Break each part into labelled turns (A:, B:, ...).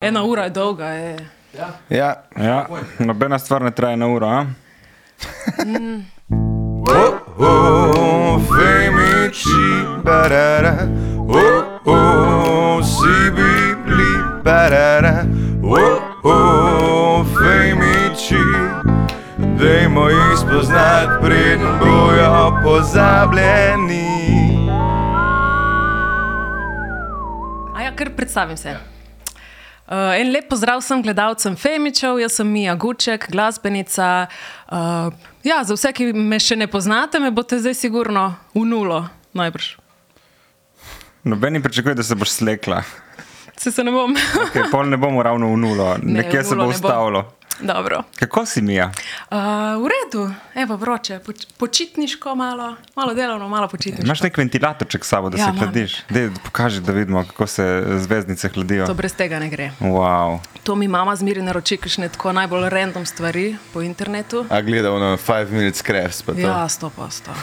A: Ena ura je dolga. Je.
B: Ja,
C: Ja, nobena stvar ne traja na uro. a?
A: Mm.
B: Oh, oh, femiči, barara. Oh, oh, si bi bili, barara. Oh, oh, femiči. Dajmo jih spoznati, preden bojo pozabljeni.
A: A ja, kar predstavim se. Uh, en lep pozdrav vsem gledalcem Femičev, jaz sem Mija Guček, glasbenica. Uh, ja, za vse, ki me še ne poznate, me boste zdaj sigurno v nulo, najbrž.
C: Nobeni pričakuje, da se boš slekla.
A: Se, se ne bom.
C: Okay, pol ne bomo ravno v nulo,
A: Ne,
C: nekje
A: v
C: se
A: nulo ne
C: bo
A: bom.
C: ustavilo.
A: Dobro.
C: Kako si mi?
A: Uh, v redu, evo vroče, poč počitniško malo, malo delovno, malo počitniško.
C: Imaš nek ventilatorček s sabo, da
A: Ja,
C: se
A: imam.
C: hladiš? Dej, pokaži, da vidimo, kako se zvezdnice hladijo.
A: To brez tega ne gre.
C: Wow.
A: To mi mama zmeri naroči, kakšne tako najbolj random stvari po internetu.
B: A gledal na 5 minutes crafts, pa to.
A: Ja, sto posto.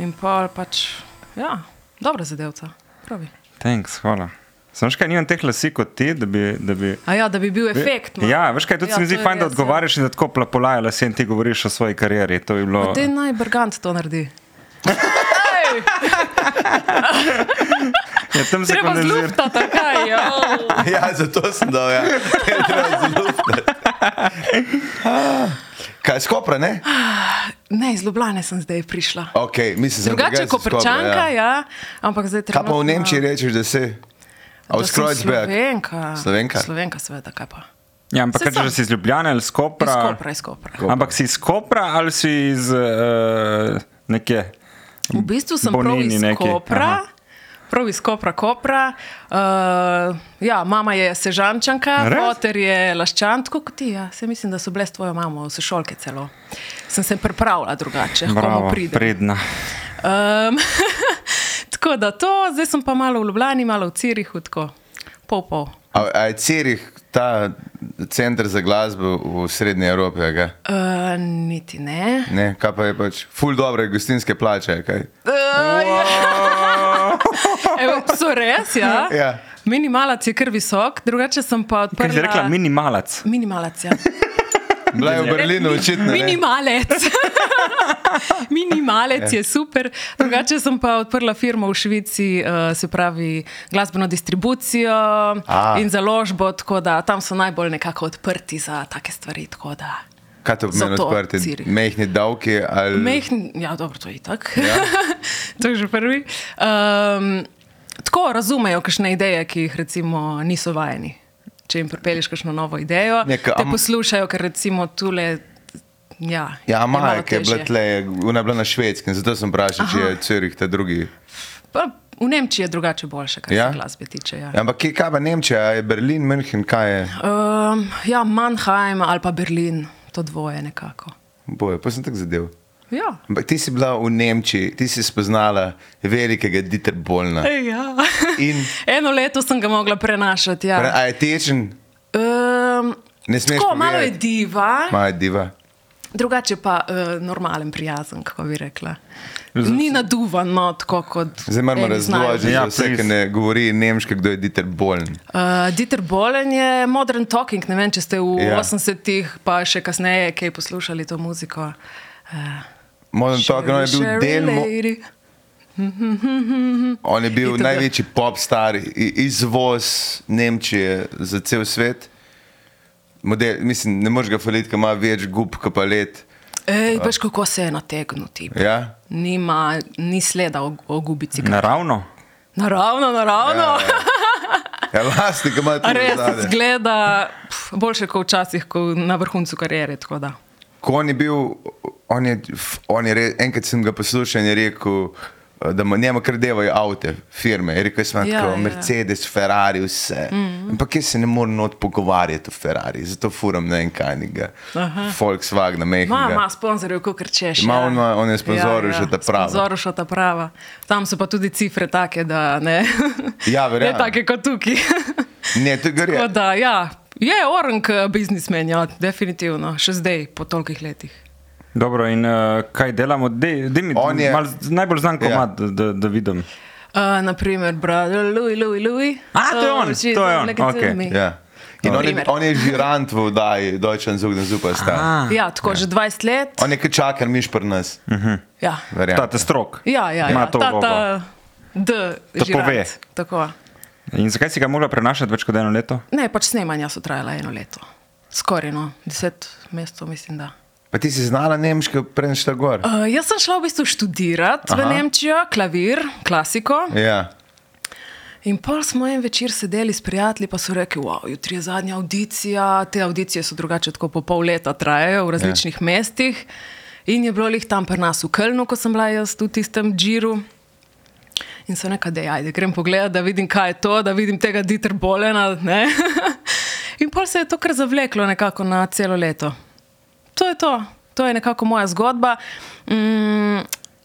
A: In pol pač, ja, dobra zadevca. Pravi.
C: Thanks, hvala. Sem še kaj, nimam teh lasik kot ti, da bi. Da bi
A: A ja, da bi bil efekt. no.
C: Ja, veš kaj, tudi ja, se mi
A: to
C: zdi
A: je
C: fajn, da
A: res, ja.
C: odgovoriš in da tako plapolajo lase in ti govoriš o svoji karieri. To bi bilo...
A: Pa Te naj brgant to naredi. Ej,
C: ja, tam se
A: Treba
C: kondenzira.
A: zlupta, takaj. ja.
B: Ja, zato sem dal, ja. Kaj je skopra, ne?
A: Ne, iz Ljubljane sem zdaj prišla.
B: Ok, mislim, da
A: Drugače, koprčanka, ja, ampak zdaj
B: Kaj
A: treba.
B: pa v Nemčiji rečeš, da si? A v Kreuzberg.
A: Slovenka.
B: Slovenka?
A: Slovenka, seveda, kaj pa.
C: Ja, ampak
A: Saj
C: rečeš, da
A: sem.
C: si iz Ljubljana ali
A: Iz
C: Skopra.
A: Kopra, iz Kopra.
B: Kopra.
C: Ampak si iz Kopra ali si iz uh, neke.
A: V bistvu sem prav
C: Bonini
A: iz
C: neki,
A: Kopra.
C: aha.
A: Prav iz Kopra, Kopra. Uh, ja, mama je sežančanka,
C: Res?
A: oter je laščan, tako kot ti. Ja. Se mislim, da so bile s tvojo mamo, vse šolke celo. Sem se pripravila drugače, kako
C: Bravo,
A: pride.
C: pridna.
A: Um, tako da to, zdaj sem pa malo v Ljubljani, malo v Cirihu, tako pol pol.
B: A, a je Cirih ta center za glasbo v Srednji Evropi? a Kaj?
A: Uh, niti ne.
B: Ne, kaj pa je pač ful dobre gostinske plače. a Kaj?
A: Uh, Evo, so res, ja.
B: Ja.
A: Minimalac je kar visok, drugače sem pa odprl.
C: Kaj si rekla, minimalac.
A: Minimalac, ja.
B: Bila je v Berlinu očitno. ne?
A: Minimalec. Minimalec
B: Ja.
A: je super. Drugače sem pa odprla firmo v Švici, eh, se pravi glasbeno distribucijo
B: A.
A: in založbo, tako da tam so najbolj nekako odprti za take stvari. tako da.
B: Kaj to pomeni
A: Zato
B: odprti?
A: Cirih.
B: Mehni davki ali...
A: Mehn, ja, dobro, to je itak.
B: Ja.
A: to je že prvi. Um, tako razumejo kakšne ideje, ki jih recimo niso vajeni. Če jim pripelješ kakšno novo idejo,
B: Neka
A: te
B: am-
A: poslušajo, ker recimo tule. Ja,
B: Ja,
A: je malo
B: Maja, ki je bila
A: težje.
B: tle, ona je bila na švedskem, zato sem vprašal, če je Cirih ta drugi.
A: Pa v Nemčiji je drugače boljše, kar
B: Ja?
A: ja? se glasbe tiče. Ja. Ja.
B: Ja, Ampak kje kaj pa Nemčija, a je Berlin, München, kaj je?
A: Um, ja, Mannheim ali pa Berlin, to dvoje nekako.
B: Boje, pa sem tak zadev.
A: Ja.
B: Ampak ti si bila v Nemčiji, ti si spoznala velikega Dieter Bolna.
A: Ej, ja.
B: In-
A: Eno leto sem ga mogla prenašati. Ja.
B: A je tečen,
A: um,
B: Ne smeš
A: tako, malo je
B: povedati.
A: diva,
B: maja diva.
A: drugače pa uh, normalen, prijazen, kako bi rekla. Ni naduvan, no, tako kot.
B: Zdaj moramo
A: eni znajo
B: razložiti,
C: Ja,
B: ja, vse, ki
C: please.
B: ne govori nemško, kdo je Dieter Boln.
A: Uh, Dieter Bolen je modern talking. Ne vem, če ste v
B: Ja.
A: ja. 80-ih, pa še kasneje, kaj poslušali to muziko. Uh,
B: Modern Talk, on je bil
A: Sherry,
B: del, mo
A: lady.
B: on je bil
A: Itd.
B: največji pop star, i- izvoz Nemčije za cel svet. Model, mislim, ne moreš ga faliti, ker ima več gub, kot pa let.
A: Ej, veš, kako se je nategnil ti.
B: Ja?
A: Nima, ni sleda o, o gubici.
C: Naravno.
A: Naravno, naravno. Ja, ja.
B: Ja, lasti, ki ima
A: A
B: tudi
A: res
B: zadaj.
A: zgleda pf, boljše kot včasih, ko na vrhuncu kariere. tako da.
B: Ko on je bil, on je, f- on je re, enkrat sem ga poslušal in je rekel, eh, da mu- njemu kar devajo avte, firme. Je rekel, da
A: Ja,
B: ja,
A: ja.
B: Mercedes, Ferrari, vse. Mm -hmm. Ampak jaz se ne morem not pogovarjati o Ferrari, zato furam ne en kanjega, Volkswagen,
A: Ma,
B: mehkega.
A: ima sponzorjev, kot rečeš.
B: Ima on- on je sponzoril še ta prava.
A: Ja, Sponzoril še ta prava. Tam so pa tudi cifre take, da ne.
B: Ja,
A: ne
B: verjamem.
A: take kot tukaj.
B: Ne, to gre.
A: Tako da, ja, je orang eh, biznismen, ja, definitivno, še zdaj, po tolikih letih.
C: Dobro, in uh, kaj delamo? Dej, dej mi,
B: On je-
C: mal, najbolj znan komad, ja. da, da vidim.
A: Uh, naprimer, Eh, brother Louis, Louis, Louis.
C: A, to je on,
A: she's
C: to je on,
A: looking to
C: okej,
A: me.
B: Ja. In on je,
A: Primer.
B: on je žirant v oddaji Deutschland Zugden Superstar.
A: Ja, tako že 20 let.
B: On je kot čakar miš pri nas.
C: Mhm.
A: Ja,
C: Ta
B: verjamem.
C: te strok.
A: ja, ja,
C: Ima
A: ja.
C: to
A: ta,
C: vlogo.
A: ta D,
C: To
A: žirant.
C: pove.
A: Tako.
C: In zakaj si ga mogla prenašati več kot eno leto?
A: Ne, pač snemanja so trajala eno leto. Skoraj no, deset mestov, mislim da.
B: Pa ti si znala nemško, prenešla gor.
A: Uh, jaz sem šla v bistvu študirati v
B: Aha.
A: Nemčijo, klavir, klasiko.
B: Ja.
A: In pol smo en večer sedeli s prijatelji, pa so rekli, wow, jutri je zadnja audicija. Te audicije so drugače tako po pol leta trajajo v različnih yeah. mestih. In je bilo jih tam pri nas v Kölnu, ko sem bila jaz v tistem džiru. In so neka dejaj, da grem pogledat, da vidim, kaj je to, da vidim tega Dieter Bolena. ne. in pol se je to kar zavleklo nekako na celo leto. To je to, to je nekako moja zgodba. Mm,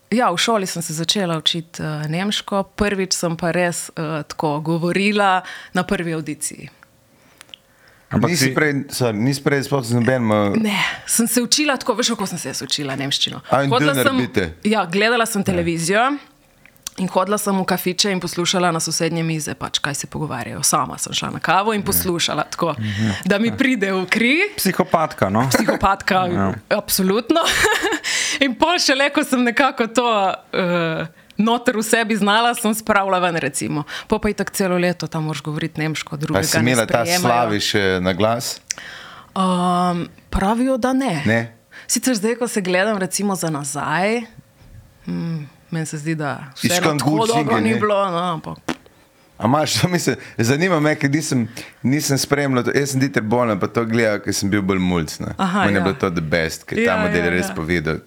A: ja, v šoli sem se začela učiti uh, nemško, prvič sem pa res uh, tako govorila na prvi audiciji.
C: Ampak
B: Nisi
C: si,
B: prej, sorry, nisi prej sploh z nobenim.
A: Ne, sem se učila tako, veš, kako sem se jaz učila nemščino.
B: A in
A: Hodila
B: Döner
A: sem,
B: bite?
A: ja, gledala sem televizijo. In hodila sem v kafiče in poslušala na sosednje mize, pač, kaj se pogovarjajo. Sama sem šla na kavo
B: Ja.
A: in poslušala, tako,
B: Mhm.
A: da mi pride v kri.
C: psihopatka, no?
A: psihopatka,
B: Ja.
A: absolutno. In pol še le, ko sem nekako to uh, noter v sebi znala, sem spravila ven. Recimo. Po pa je tako celo leto tam moraš govoriti nemško, drugo.
B: Pa si imela ta slavi še na glas?
A: Um, pravijo, da ne.
B: Ne.
A: Sicer zdaj, ko se gledam recimo za nazaj, mm, meni se zdi, da
B: Ich
A: vseeno
B: kann
A: tako
B: gut
A: dobro
B: singen,
A: ni
B: ne.
A: bilo. No, ampak.
B: A imaš, to mislim, zanima me, ker nisem, nisem spremljal, to. jaz sem Dieter Bono, pa to gledal, ker sem bil bolj mulc. ne.
A: Aha,
B: Meni
A: ja.
B: je bilo to the best, ker
A: Ja,
B: ta model
A: ja,
B: je res
A: ja.
B: povedal.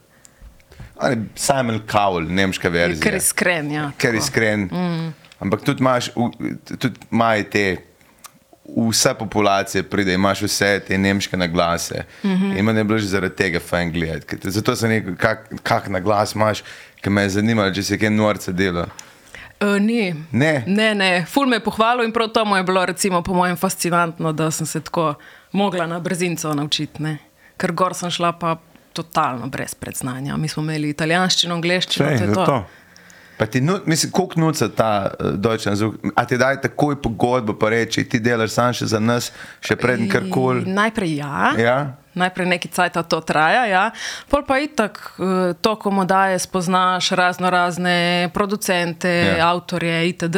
B: On je Simon Cowell, nemška
A: Je Ker
B: verzija.
A: iskren, ja.
B: Ker
A: tako.
B: iskren. Mm. Ampak tudi imaš, v- tudi imajo te, vse populacije pride, imaš vse te nemške naglase. Mm -hmm. In meni je bilo že zaradi tega fajn gledati. ker- Zato sem rekel, kak, kak naglas imaš, ker me je zanimalo, če se kaj norce dela.
A: Uh, ni.
B: Ne.
A: ne, ne. Ful me je pohvalil in prav to mu je bilo, recimo, po mojem, fascinantno, da sem se tako mogla na brzinco naučiti. Ne? Ker gor sem šla pa totalno brez predznanja. Mi smo imeli italijanščino, angliščino,
C: Sej,
A: to je to.
C: zato.
B: Pa ti, nu- mislim, koliko nuca ta uh, Deutschland zvok, a ti daj takoj pogodbo, pa reči, ti delaš sam še za nas, še preden karkoli.
A: In Najprej ja.
B: Ja.
A: Najprej neki cajt to traja, ja. pol pa itak eh, to, ko mu daje, spoznaš razno razne producente,
B: Ja.
A: ja. avtorje itd.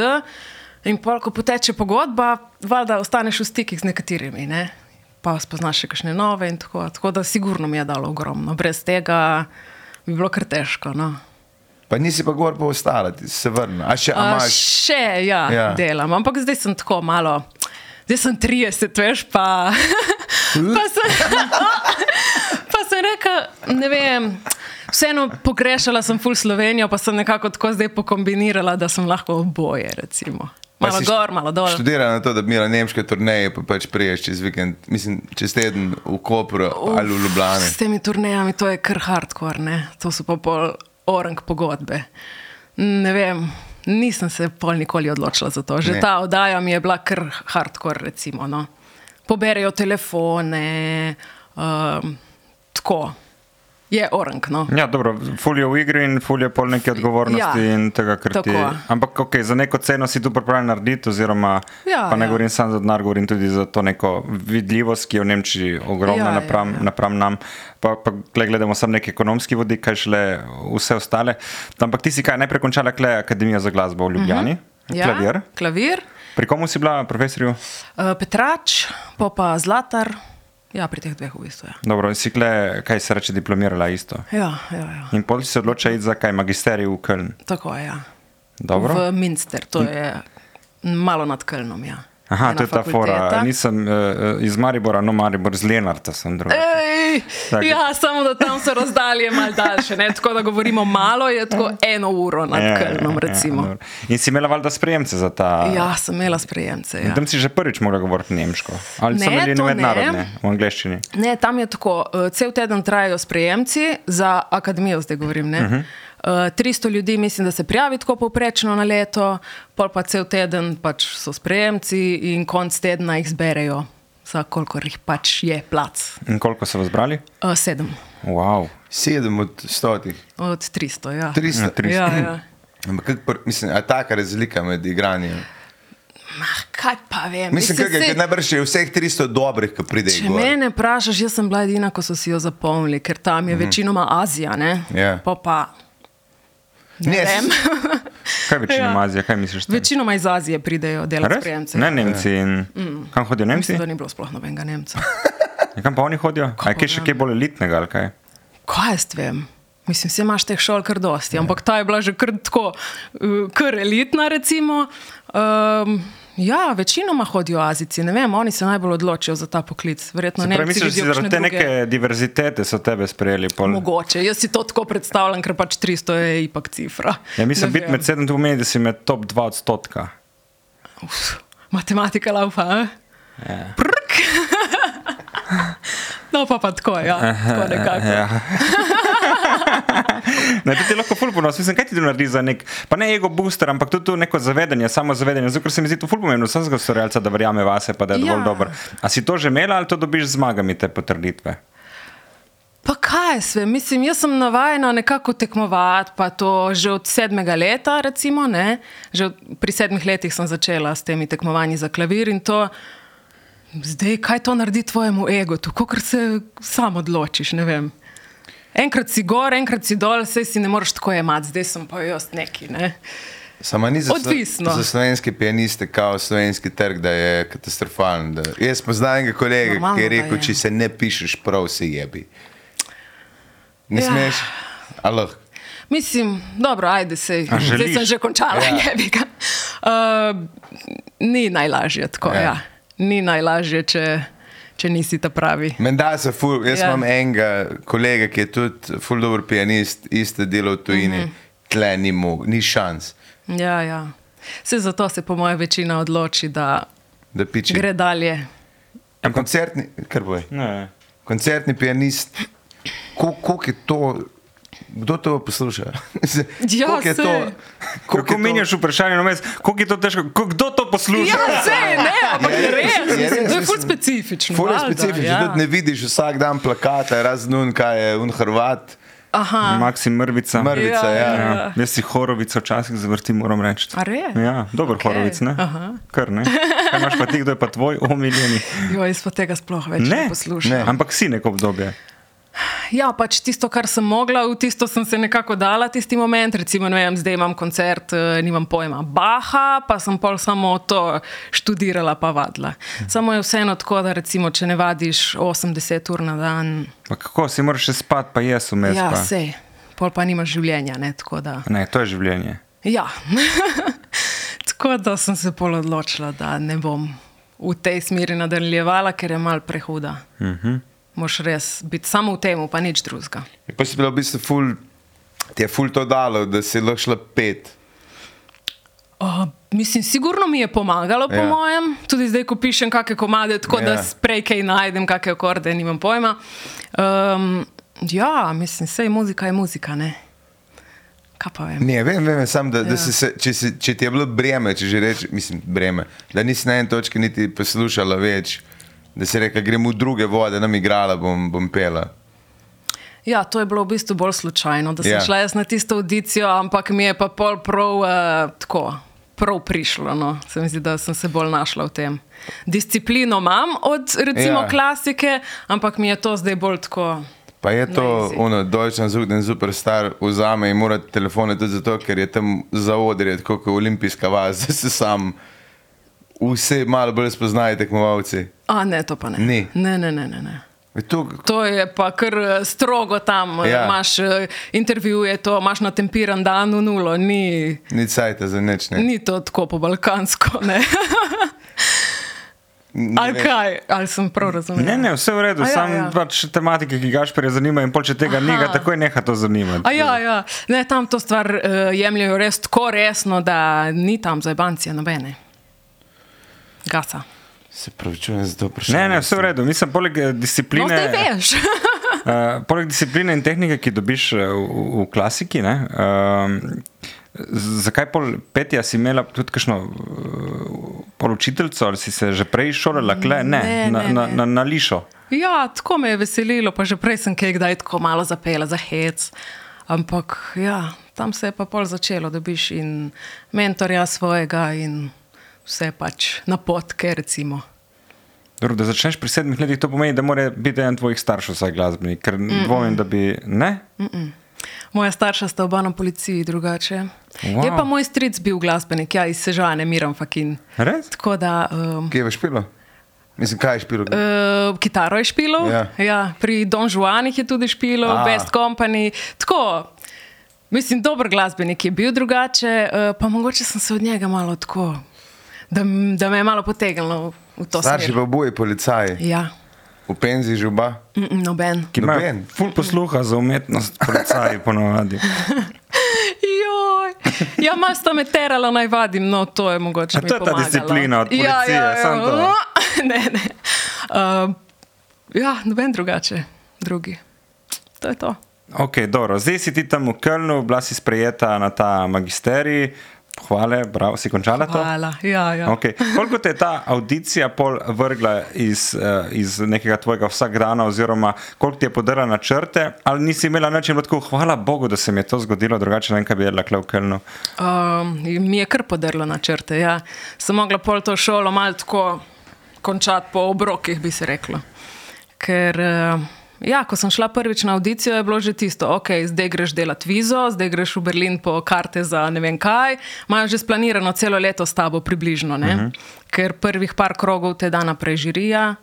A: In pol, ko poteče pogodba, valjda ostaneš v stikih z nekaterimi, ne? pa spoznaš še kakšne nove in tako. Tako da sigurno mi je dalo ogromno, brez tega bi bilo kar težko. No.
B: Pa nisi pa gor pa ostala, ti si se vrnila. A še a
A: A,
B: imaš.
A: še ja, ja.
B: Ja.
A: delam, ampak zdaj sem tako malo, zdaj sem 30, veš, pa,
B: Hm?
A: pa sem. pa sem rekel, ne vem. Vseeno pogrešala sem full Slovenijo, pa sem nekako tako zdaj pokombinirala, da sem lahko oboje. Recimo.
B: Pa
A: Malo
B: si
A: gor, malo dol.
B: Študirala na to, da bi imela nemške turneje, pa pač priješ čez vikend, mislim, čez teden v Kopru Uf, ali v Ljubljani.
A: S temi turnejami to je kar hardcore, ne? to so pa pol orang pogodbe. Ne vem, nisem se pol nikoli odločila za to. Že
B: Ne.
A: ne. ta oddaja mi je bila kar hardcore, recimo. No. Poberejo telefone, um, tako. Je orang, no.
B: Hm.
C: Ja, dobro, fulje v igri in fulje pol neke odgovornosti
A: Ja,
C: ja, in tega, kar ti.
A: tako.
C: Ampak okay, za neko ceno si tu pripravljen narediti, oziroma
A: Ja,
C: ja, pa ne
A: ja.
C: ja. govorim samo za denar, govorim tudi za to neko vidljivost, ki je v Nemčiji ogromna
A: Ja,
C: ja,
A: ja,
C: napram, ja,
A: ja.
C: ja. napram nam. Pa, pa tle gledamo samo neki ekonomski vodik, kaj šele vse ostale. Ampak ti si kaj najprej končala kle Akademijo za glasbo v Ljubljani,
A: Mhm.
C: uh
A: Ja.
C: -huh. klavir.
A: klavir
C: Pri komu si bila, profesorju?
A: uh, Petrač, pa pa Zlatar. Ja, pri teh dveh v bistvu. Ja,
C: Dobro, si kle, kaj se reče, diplomirala isto.
A: ja, ja, ja.
C: In pol si se odločila iti za kaj, magisterij v Köln.
A: tako je. Ja.
C: Dobro.
A: V Minster, to je malo nad Kölnom. Ja.
C: Aha,
A: Ena
C: to je ta fora.
A: fakulteta.
C: Nisem uh, iz Maribora, no Maribor, z Lenarta sem drug.
A: Eh, Ej,
C: Tako.
A: ja, samo da tam so razdalje malo daljše. Ne? Tako da govorimo malo, je tako eno uro nad
C: Ja,
A: Kölnom. Recimo.
C: In si imela valjda sprejemce za ta.
A: Ja, sem imela sprejemce. Ja.
C: In tam si že prvič mogla govoriti nemško. Ali
A: Ne,
C: so bili
A: to ne.
C: mednarodne, v angleščini.
A: Ne, tam je tako, eh, cel teden trajajo sprejemci za akademijo, zdaj govorim. Ne? Uh
C: Mhm.
A: -huh. 300 ljudi, mislim, da se prijavi tako povprečno na leto, pol pa cel teden pač so sprejemci in konc tedna jih zberejo, za kolikor jih pač je plac.
C: In koliko so vas brali?
A: Eh, Sedem
C: Wow.
B: Sedem od stotih,
A: od 300. Ja.
B: tristo. Mhm.
C: tri-
A: Ja, ja.
B: Ampak, kak pr- mislim, a taka razlika med igranjem.
A: mah, Ah, kaj pa vem.
B: Mislim,
A: Mislim,
B: da je
A: saj-
B: najbrž je vseh 300 dobrih, ki pridejo.
A: Če
B: gor.
A: mene vprašaš, jaz sem bila edina, ko so si jo zapomnili, ker tam je mm. večinoma Azija. Ne?
B: Mhm. Ja.
A: Pa pa, ne
B: Ne,
A: vem.
C: Kaj večina
A: Ja.
C: ima Azija, kaj misliš? tam?
A: večinoma iz Azije pridejo delati
C: Res?
A: sprejemce. Mm.
C: Ne, Nemci. In... Kam hodijo Nemci?
A: Mislim, da ni bilo sploh nobenega Nemca.
C: Ja, Kam pa oni hodijo? A je kje še
A: ne.
C: kaj bolj elitnega ali kaj?
A: Kaj jaz vem? Mislim, vse imaš teh šol kar
B: Ja.
A: dosti, ampak ta je bila že kar tako, eh, kar elitna. Recimo. Um, ja, večinoma hodijo Azici, ne vem, oni se najbolj odločijo za ta poklic. Verjetno
C: Se
A: ne
C: pravi,
A: bi
C: misliš, da si zaradi te neke diverzitete so tebe sprejeli? Pol...
A: Mogoče, jaz si to tako predstavljam, ker pač 300 je ipak cifra.
C: Ja, mislim,
A: Ne
C: biti
A: vem.
C: med sedem, to pomeni, da si med top 2 odstotka.
A: Uf, matematika laupa. a?
C: Ja.
A: Prrk. no, pa, pa tako, ja. tako nekako.
C: Ja. ne, to ti lahko ful ponosi. Mislim, kaj ti to naredi za nek, pa ne ego booster, ampak tudi to neko zavedanje, samo zavedanje. Zato ker se mi zdi to ful pomembno vsakega ustvarjalca, da verjame vase, pa da je dovolj
A: Ja.
C: dober. A si to že imela ali to dobiš z zmagami te potrditve?
A: Pa kaj sve, mislim, jaz sem navajena nekako tekmovati, pa to že od sedmega leta, recimo, ne. Že od, pri sedmih letih sem začela s temi tekmovanji za klavir in to. Zdaj, kaj to naredi tvojemu ego, tako ker se sam odločiš, ne vem. Enkrat si gor, enkrat si dol, vse si ne moreš tako imati, zdaj sem pa jaz neki. Ne?
B: Samo ni za, slo-
A: Odvisno.
B: za slovenske pianiste, kao slovenski trg, da je katastrofalen. Da. Jaz poznam enega kolega, Normalno,
A: Normalno,
B: ki je
A: da
B: rekel, je.
A: je.
B: če se ne pišeš prav, se jebi. Ne
A: Ja.
B: ja. smeš, aloh.
A: Mislim, dobro, ajde se.
C: A
A: Zdaj
C: želiš?
A: sem že končala,
B: Ja.
A: je bi ga. Uh, ni najlažje tako. Ja.
B: Ja.
A: Ja. Ni najlažje, če, če nisi ta pravi.
B: Menda se ful, jaz ja.
A: Ja.
B: imam enega kolega, ki je tudi ful dober pianist, iste delo v tujini, mm
A: Mhm.
B: -hmm. tle ni mu, ni šans,
A: Ja, ja. Se zato se, po mojem, večina odloči, da
B: da piče.
A: gre dalje.
B: Ja, Koncertni, kar boje.
C: Ne.
B: koncertni pianist, koliko je to, kdo to posluša? Se-
A: Ja,
B: koliko je
A: saj.
B: to? koliko je
C: Kako
B: to-
C: menjaš vprašanje, no, kako je to težko, ko- kdo to posluša?
A: Ja, vse je, ne, ampak
B: Je
A: je
B: res,
A: res.
B: je res,
A: mislim, To je
B: mislim.
A: ful specifično.
B: ja, Ful je
A: valjda,
B: specifičen, ja.
A: ja.
B: tudi ne vidiš vsak dan plakata, razen un, kaj je un Hrvat.
A: Aha.
C: Maksim Mrvica.
A: Ja,
B: Mrvica, ja.
A: ja.
C: Ja, jaz si horovico včasih zavrti, moram reči.
A: A res?
C: Ja, dober okay. horovic, ne?
A: Aha.
C: Kar ne. Kaj imaš pa ti, kdo je pa tvoj omiljeni?
A: Jo, jaz pa tega sploh več ne,
C: Ne,
A: poslušam.
B: ne.
C: Ampak si neko obdobje.
A: Ja, pač tisto, kar sem mogla, v tisto sem se nekako dala tisti moment. Recimo, ne vem, zdaj imam koncert, eh, nimam pojma, Baha, pa sem pol samo to študirala, pa vadila. Samo je vseeno tako, da recimo, če ne vadiš 80 ur na dan,
C: Pa kako si moraš še spati, pa jaz vmes.
A: ja,
C: pa.
A: vse, pol pa nimaš življenja. Ne, tako, da,
C: Ne, to je življenje.
A: ja. tako da sem se pol odločila, da ne bom v tej smeri nadaljevala, ker je mal prehuda. Uh -huh. Moš res biti samo v tem, pa nič drugega.
B: In Pa si bila v bistvu ful, ti je ful to dalo, da si lahko šla pet.
A: Uh, mislim, sigurno mi je pomagalo, po
B: Ja.
A: mojem, tudi zdaj, ko pišem kakšne komade, tako
B: Ja.
A: da prej kaj najdem, kakšne akorde, nimam pojma. Um, ja, mislim, vse je muzika, je muzika, ne. Kaj pa vem?
B: Ne, vem, vem, sam, da, ja. da
A: Ja.
B: si se, če, si, če ti je bilo breme, če že rečeš, mislim, breme, da nisi na eni točki niti poslušala več, da si rekla, grem v druge vode, nam igrala, bom, bom pela.
A: Ja, to je bilo v bistvu bolj slučajno, da sem
B: Ja.
A: yeah. šla jaz na tisto audicijo, ampak mi je pa pol prav uh, tako. Prav prišlo, no. se mi zdi, da sem se bolj našla v tem. Disciplino imam od recimo
B: Ja.
A: yeah. klasike, ampak mi je to zdaj bolj tako.
B: Pa je to,
A: Na jezik.
B: ono, Deutschland zugden superstar vzame in mora telefone tudi zato, ker je tam za odrje, tako kot olimpijska vas, da se sam vse malo bolj spoznajo tekmovalci.
A: A ne, to pa ne.
B: Ni.
A: Ne, ne, ne, ne. ne.
B: Je To,
A: To je pa kar eh, strogo tam.
B: Ja.
A: Ja. Imaš eh, intervjuje, to imaš na tempiran dan v nulo, ni,
B: ni cajt za nič. Ne.
A: ni to tako po balkansko. ne.
B: Ne
A: Ali
B: veš.
A: kaj, ali sem prav razumel?
C: Ne, ne, vse v redu,
A: A ja,
C: samo
A: ja.
C: pač tematike, ki ga špere zanima in pol, če tega ni, ga
A: Aha.
C: takoj neha to zanimati.
A: A ja, ja. Ne, tam to stvar uh, jemljajo res tako resno, da ni tam zajbancije nobene. Gasa. No,
B: Se pravičujem za to vprašanje.
C: Ne, ne, vse v redu, mislim, poleg eh,
A: No,
C: discipline.
A: zdaj veš.
C: Uh, poleg discipline in tehnike, ki dobiš eh, v, v klasiki, ne, um, z- zakaj pol petja si imela tudi kakšno eh, pol učiteljico ali si se že prej šolala, kle, ne,
A: Ne,
C: na,
A: ne,
C: na,
A: ne.
C: na, na lišo.
A: ja, tako me je veselilo, pa že prej sem kaj kdaj tako malo zapela za hec. Ampak ja, tam se je pa pol začelo, da biš in mentorja svojega in vse pač napotke, recimo.
C: Dobro, da začneš pri sedmih letih, to pomeni, da mora biti en tvojih staršev vsaj glasbenik, ker mm -mm. dvomim, da bi ne.
A: Mm. Moja starša sta oba na policiji, drugače.
C: Wow.
A: Wow. Je pa moj stric bil glasbenik, ja, iz Sežane, Miram Fakin.
C: Res?
A: Tako da um,
B: Kje je špilo? Mislim, kaj je špilo?
A: uh, kitaro je špilo,
B: Ja.
A: ja. Ja, pri Don Juanih je tudi špilo,
B: A.
A: A. Best Company. Tako, mislim, dober glasbenik je bil drugače, uh, pa mogoče sem se od njega malo tako, da, m- da me je malo potegnilo v to
B: Starši
A: smer.
B: pa oboje policaji,
A: Ja,
B: v penzi že oba.
A: Mm, mm, noben.
C: Ki ima
B: Noben.
C: ful posluha za umetnost, predvsej ponovadi.
A: Joj. Ja, malo sta me terala, naj vadim, no to je mogoče.
C: A
A: mi
C: to je ta
A: pomagalo.
C: disciplina od policije, samo to.
A: ja. Ne, ne. Uh, ja, noben drugače, drugi. To je to.
C: Ok, dobro, zdaj si ti tam v Kölnu, bila si sprejeta na ta magisterij, hvale, bravo, si končala to?
A: Hvala. Ja, ja.
C: Okay. Koliko te je ta audicija pol vrgla iz, eh, iz nekega tvojega vsakdana, oziroma koliko ti je podarila na črte, ali nisi imela način, tako hvala Bogu, da se mi je to zgodilo, drugače ne vem, kaj bi jedla kle v Kölnu.
A: Um, in mi je kar podrlo na črte. Ja. Sem mogla pol to šolo malo tako končati po obrokih, bi se reklo. Ker, eh, ja, ko sem šla prvič na audicijo, je bilo že tisto, ok, zdaj greš delati vizo, zdaj greš v Berlin po karte za ne vem kaj. Imajo že splanirano celo leto s tabo približno, uh -huh. ker prvih par krogov te da naprej žirija,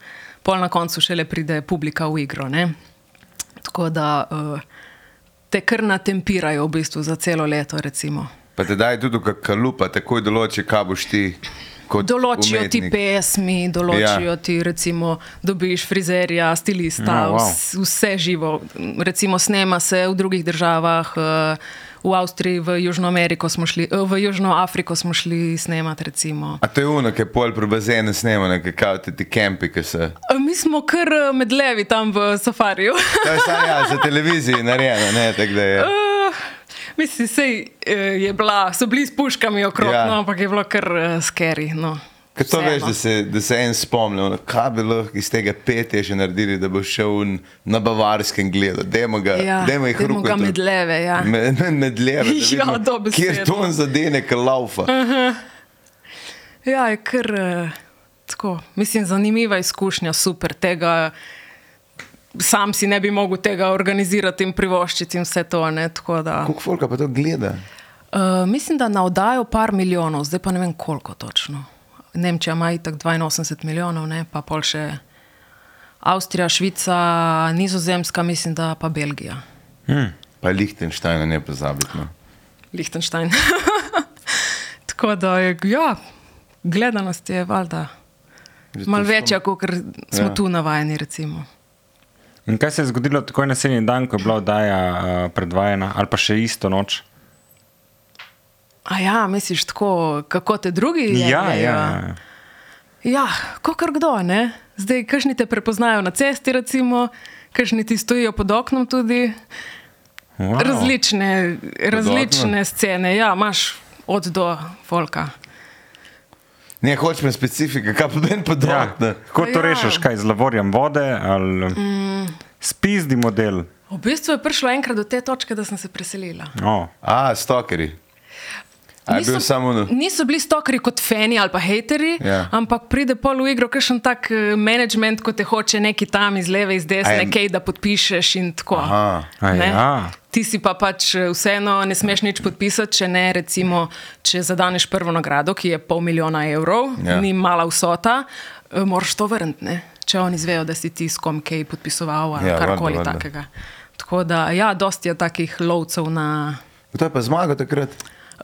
A: pol na koncu šele pride publika v igro. Ne? Tako da uh, te kar natempirajo v bistvu za celo leto. Recimo.
B: Pa te daj tudi kakšna kalupa, takoj določi, kaj boš ti kot
A: Določijo
B: umetnik.
A: ti pesmi, določijo
B: Ja.
A: ja. ti, recimo, dobiš frizerja, stilista,
C: No, wow.
A: no, wow. vse živo. Recimo, snema se v drugih državah, eh, v Avstriji, v Južno Ameriko smo šli, eh, v Južno Afriko smo šli snemati. Recimo.
B: A to je uno, ki je pol pri bazenu snemano, ki kao ti ti kampi, ki se.
A: Eh, Mi smo kar eh, med levi tam v safariju.
B: To je samo ja, za televizijo narejeno, ne, tako da je.
A: Eh, Mislim, sej, eh, je bila, so bili s puškami okrog,
B: Ja.
A: ja. no, ampak je bilo kar uh, skeri. No.
B: Ker to veš,
A: Vseeno.
B: da se, da se en spomni, ono, kaj bi lahko iz tega petja še naredili, da bo šel un- na bavarskem gledu. Dajmo ga,
A: Ja,
B: dajmo jih
A: dajmo
B: ruko.
A: ga
B: tu-
A: med leve, ja.
B: Me- me- Med leve. da
A: Ja,
B: vidimo,
A: dobesedno. Eh.
B: Kjer ton zadene, ki laufa.
A: Ja, je kar eh, tako. Mislim, zanimiva izkušnja, super. Tega, sam si ne bi mogel tega organizirati in privoščiti in vse to. Ne, tako da,
B: Koliko folka pa to gleda?
A: uh, mislim, da na oddajo par milijonov, zdaj pa ne vem koliko točno. Nemčija ima itak 82 milijonov, ne, pa pol še Avstrija, Švica, Nizozemska, mislim, da pa Belgija,
B: Pa Lihtenštajna ne pozabiti. No.
A: Lihtenštajn. tako da je, ja, gledanost je valjda.
B: Že to
A: Mal
B: smo-
A: večja, kot smo
B: Ja.
A: ja. tu navajeni. Recimo.
C: In kaj se je zgodilo takoj naslednji dan, ko je bila oddaja uh, predvajana, ali pa še isto noč?
A: A ja, misliš tako, kako te drugi jemljejo?
C: ja, ja.
A: Ja, kot kdo, ne? Zdaj, kašni te prepoznajo na cesti, recimo, kašni ti stojijo pod oknom tudi.
C: Wow.
A: Wow. Različne, različne
B: oknom?
A: scene, ja, imaš od do folka.
B: Ne, hočem specifike, kaj pa meni
C: Ja.
B: podobno.
C: Kako to
A: Ja.
C: rešiš, kaj z lavorjem vode ali mm. spizdi model?
A: V bistvu je prišlo enkrat do te točke, da sem se preselila.
C: Oh.
B: A, stokeri. A je bil samo uno.
A: niso bili stokri kot fani ali pa hateri,
B: Ja.
A: ja. ampak pride pol v igro kakšen tak eh, management, ko te hoče neki tam iz leve, iz
B: A
A: desne,
B: je-
A: kaj da podpišeš in tako.
B: Aha,
C: a
A: Ne?
C: ja.
A: Ti si pa pač eh, vseeno ne smeš nič podpisati, če ne, recimo, če zadaneš prvo nagrado, ki je pol milijona evrov,
B: Ja.
A: ja. ni mala vsota, eh, moraš to vrniti, če oni izvejo, da si ti s kom kaj podpisoval ali ja,
B: Ja, valjda,
A: karkoli
B: valjda.
A: takega. Tako da, ja, dosti je takih lovcev na.
B: Kdo je pa zmagal takrat?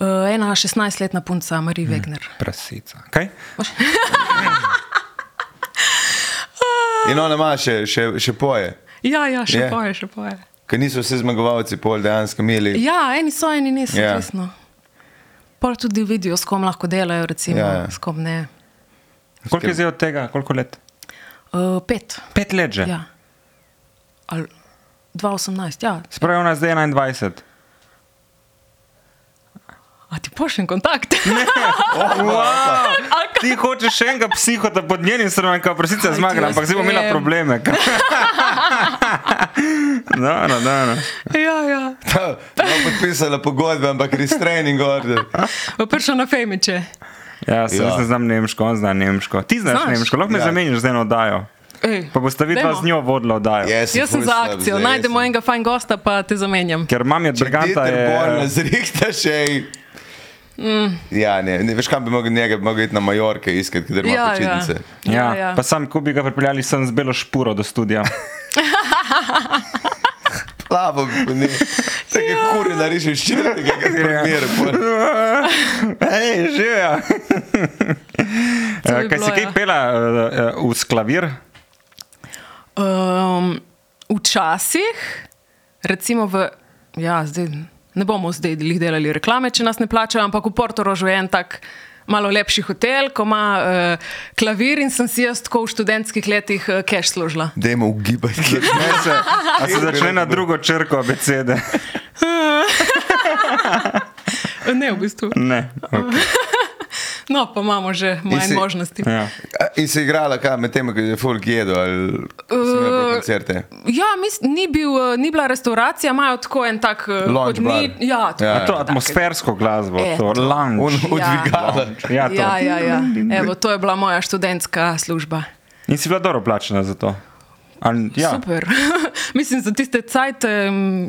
A: Uh, ena 16-letna punca, Marija Wegner.
C: Prasica. Kaj?
B: In ona ima še, še, še poje,
A: Ja, ja, še
B: Je.
A: yeah. poje, še poje.
B: ker niso vsi zmagovalci pol dejansko imeli.
A: Ja, eni so, eni niso,
B: Ja.
A: yeah. resno. Pa tudi vidijo, s kom lahko delajo, recimo,
B: Ja, ja.
A: yeah. s kom ne.
C: Koliko je zdaj od tega, koliko let?
A: Uh, pet.
C: Pet let že.
A: Ja. Ali 2018, ja.
C: Se pravi, ona je zdaj 21.
A: A ti pošljem kontakt? Ja.
B: Oh,
C: Wow!
A: Ali kaj?
C: Ti hočeš še enega psihota pod njenim stranom, kot prosica je
A: Kaj
C: zmagala,
A: ti jaz
C: ampak zdaj bo imela
A: vem?
C: probleme. no, no, no, no.
A: ja, ja.
B: Ta je podpisala pogodbe, ampak res trening gor.
A: Pa Prišel na Femiče.
C: Ja, se
B: Ja.
C: ja. ne znam nemško, on zna nemško. Ti znaš,
A: Znaš?
C: znaš? nemško, lahko me
B: Ja.
C: ja. zamenjaš z eno oddajo.
A: Ej,
C: Pa boste videla
A: dajmo.
C: z njo vodila oddajo.
B: Jaz
A: Jaz sem
B: ful
A: za
B: slab
A: akcijo,
B: zdaj, jaz
A: najdemo
B: sem-
A: enega fajn gosta, pa te zamenjam.
C: Ker mam je
B: Če
C: drganta
B: Dieter Bohlen
C: je...
B: zrihta še. Mm. Ja, ne, ne veš, kam bi mogel njega, bi mogel iti na Majorke iskati, ker
A: Ja,
B: ima
A: ja.
B: počitnice.
C: Ja,
A: Ja, ja.
C: Pa sam, ko bi ga pripeljali sem z belo špuro do studia.
B: Plavo, ne. Take ja. kure narišeš, če ne
A: Ja.
B: tega primer.
C: Hej, živijo!
A: To bi
C: ja. Kaj si
A: bilo,
C: kaj
A: ja.
C: pela eh, eh, v sklavir?
A: Um, včasih, recimo v. Ja, zdaj, ne bomo zdaj lih delali reklame, če nas ne plačajo, ampak v Portorožu je en tak. Malo lepši hotel, ko ima uh, klavir, in sem si jaz tako v študentskih letih uh, cash služila.
B: Dajmo ugibati.
C: Ne se, a se začne na drugo črko abecede.
A: Ne, v bistvu.
C: Ne. Okay.
A: No, pa imamo že manj
B: si-
A: možnosti.
C: Ja.
B: A, In se igrala, kaj med tem, ko je folk jedel ali uh,
A: Eh,
B: koncerte.
A: Ja, mis, ni, bil, eh, ni bila restauracija, imajo tako en tak eh,
B: Lounge
A: hodnik-
B: bar.
A: Ja, tako.
B: Ja.
C: A To atmosfersko glasbo,
A: E,
C: to
B: On
C: lounge.
B: odvigala.
C: Ja, to.
A: Ja, ja, ja. Evo, to je bila moja študentska služba.
C: In si bila dobro plačena za to. Ali-
A: Ja.
C: Ja.
A: Super. Mislim, za tiste cajt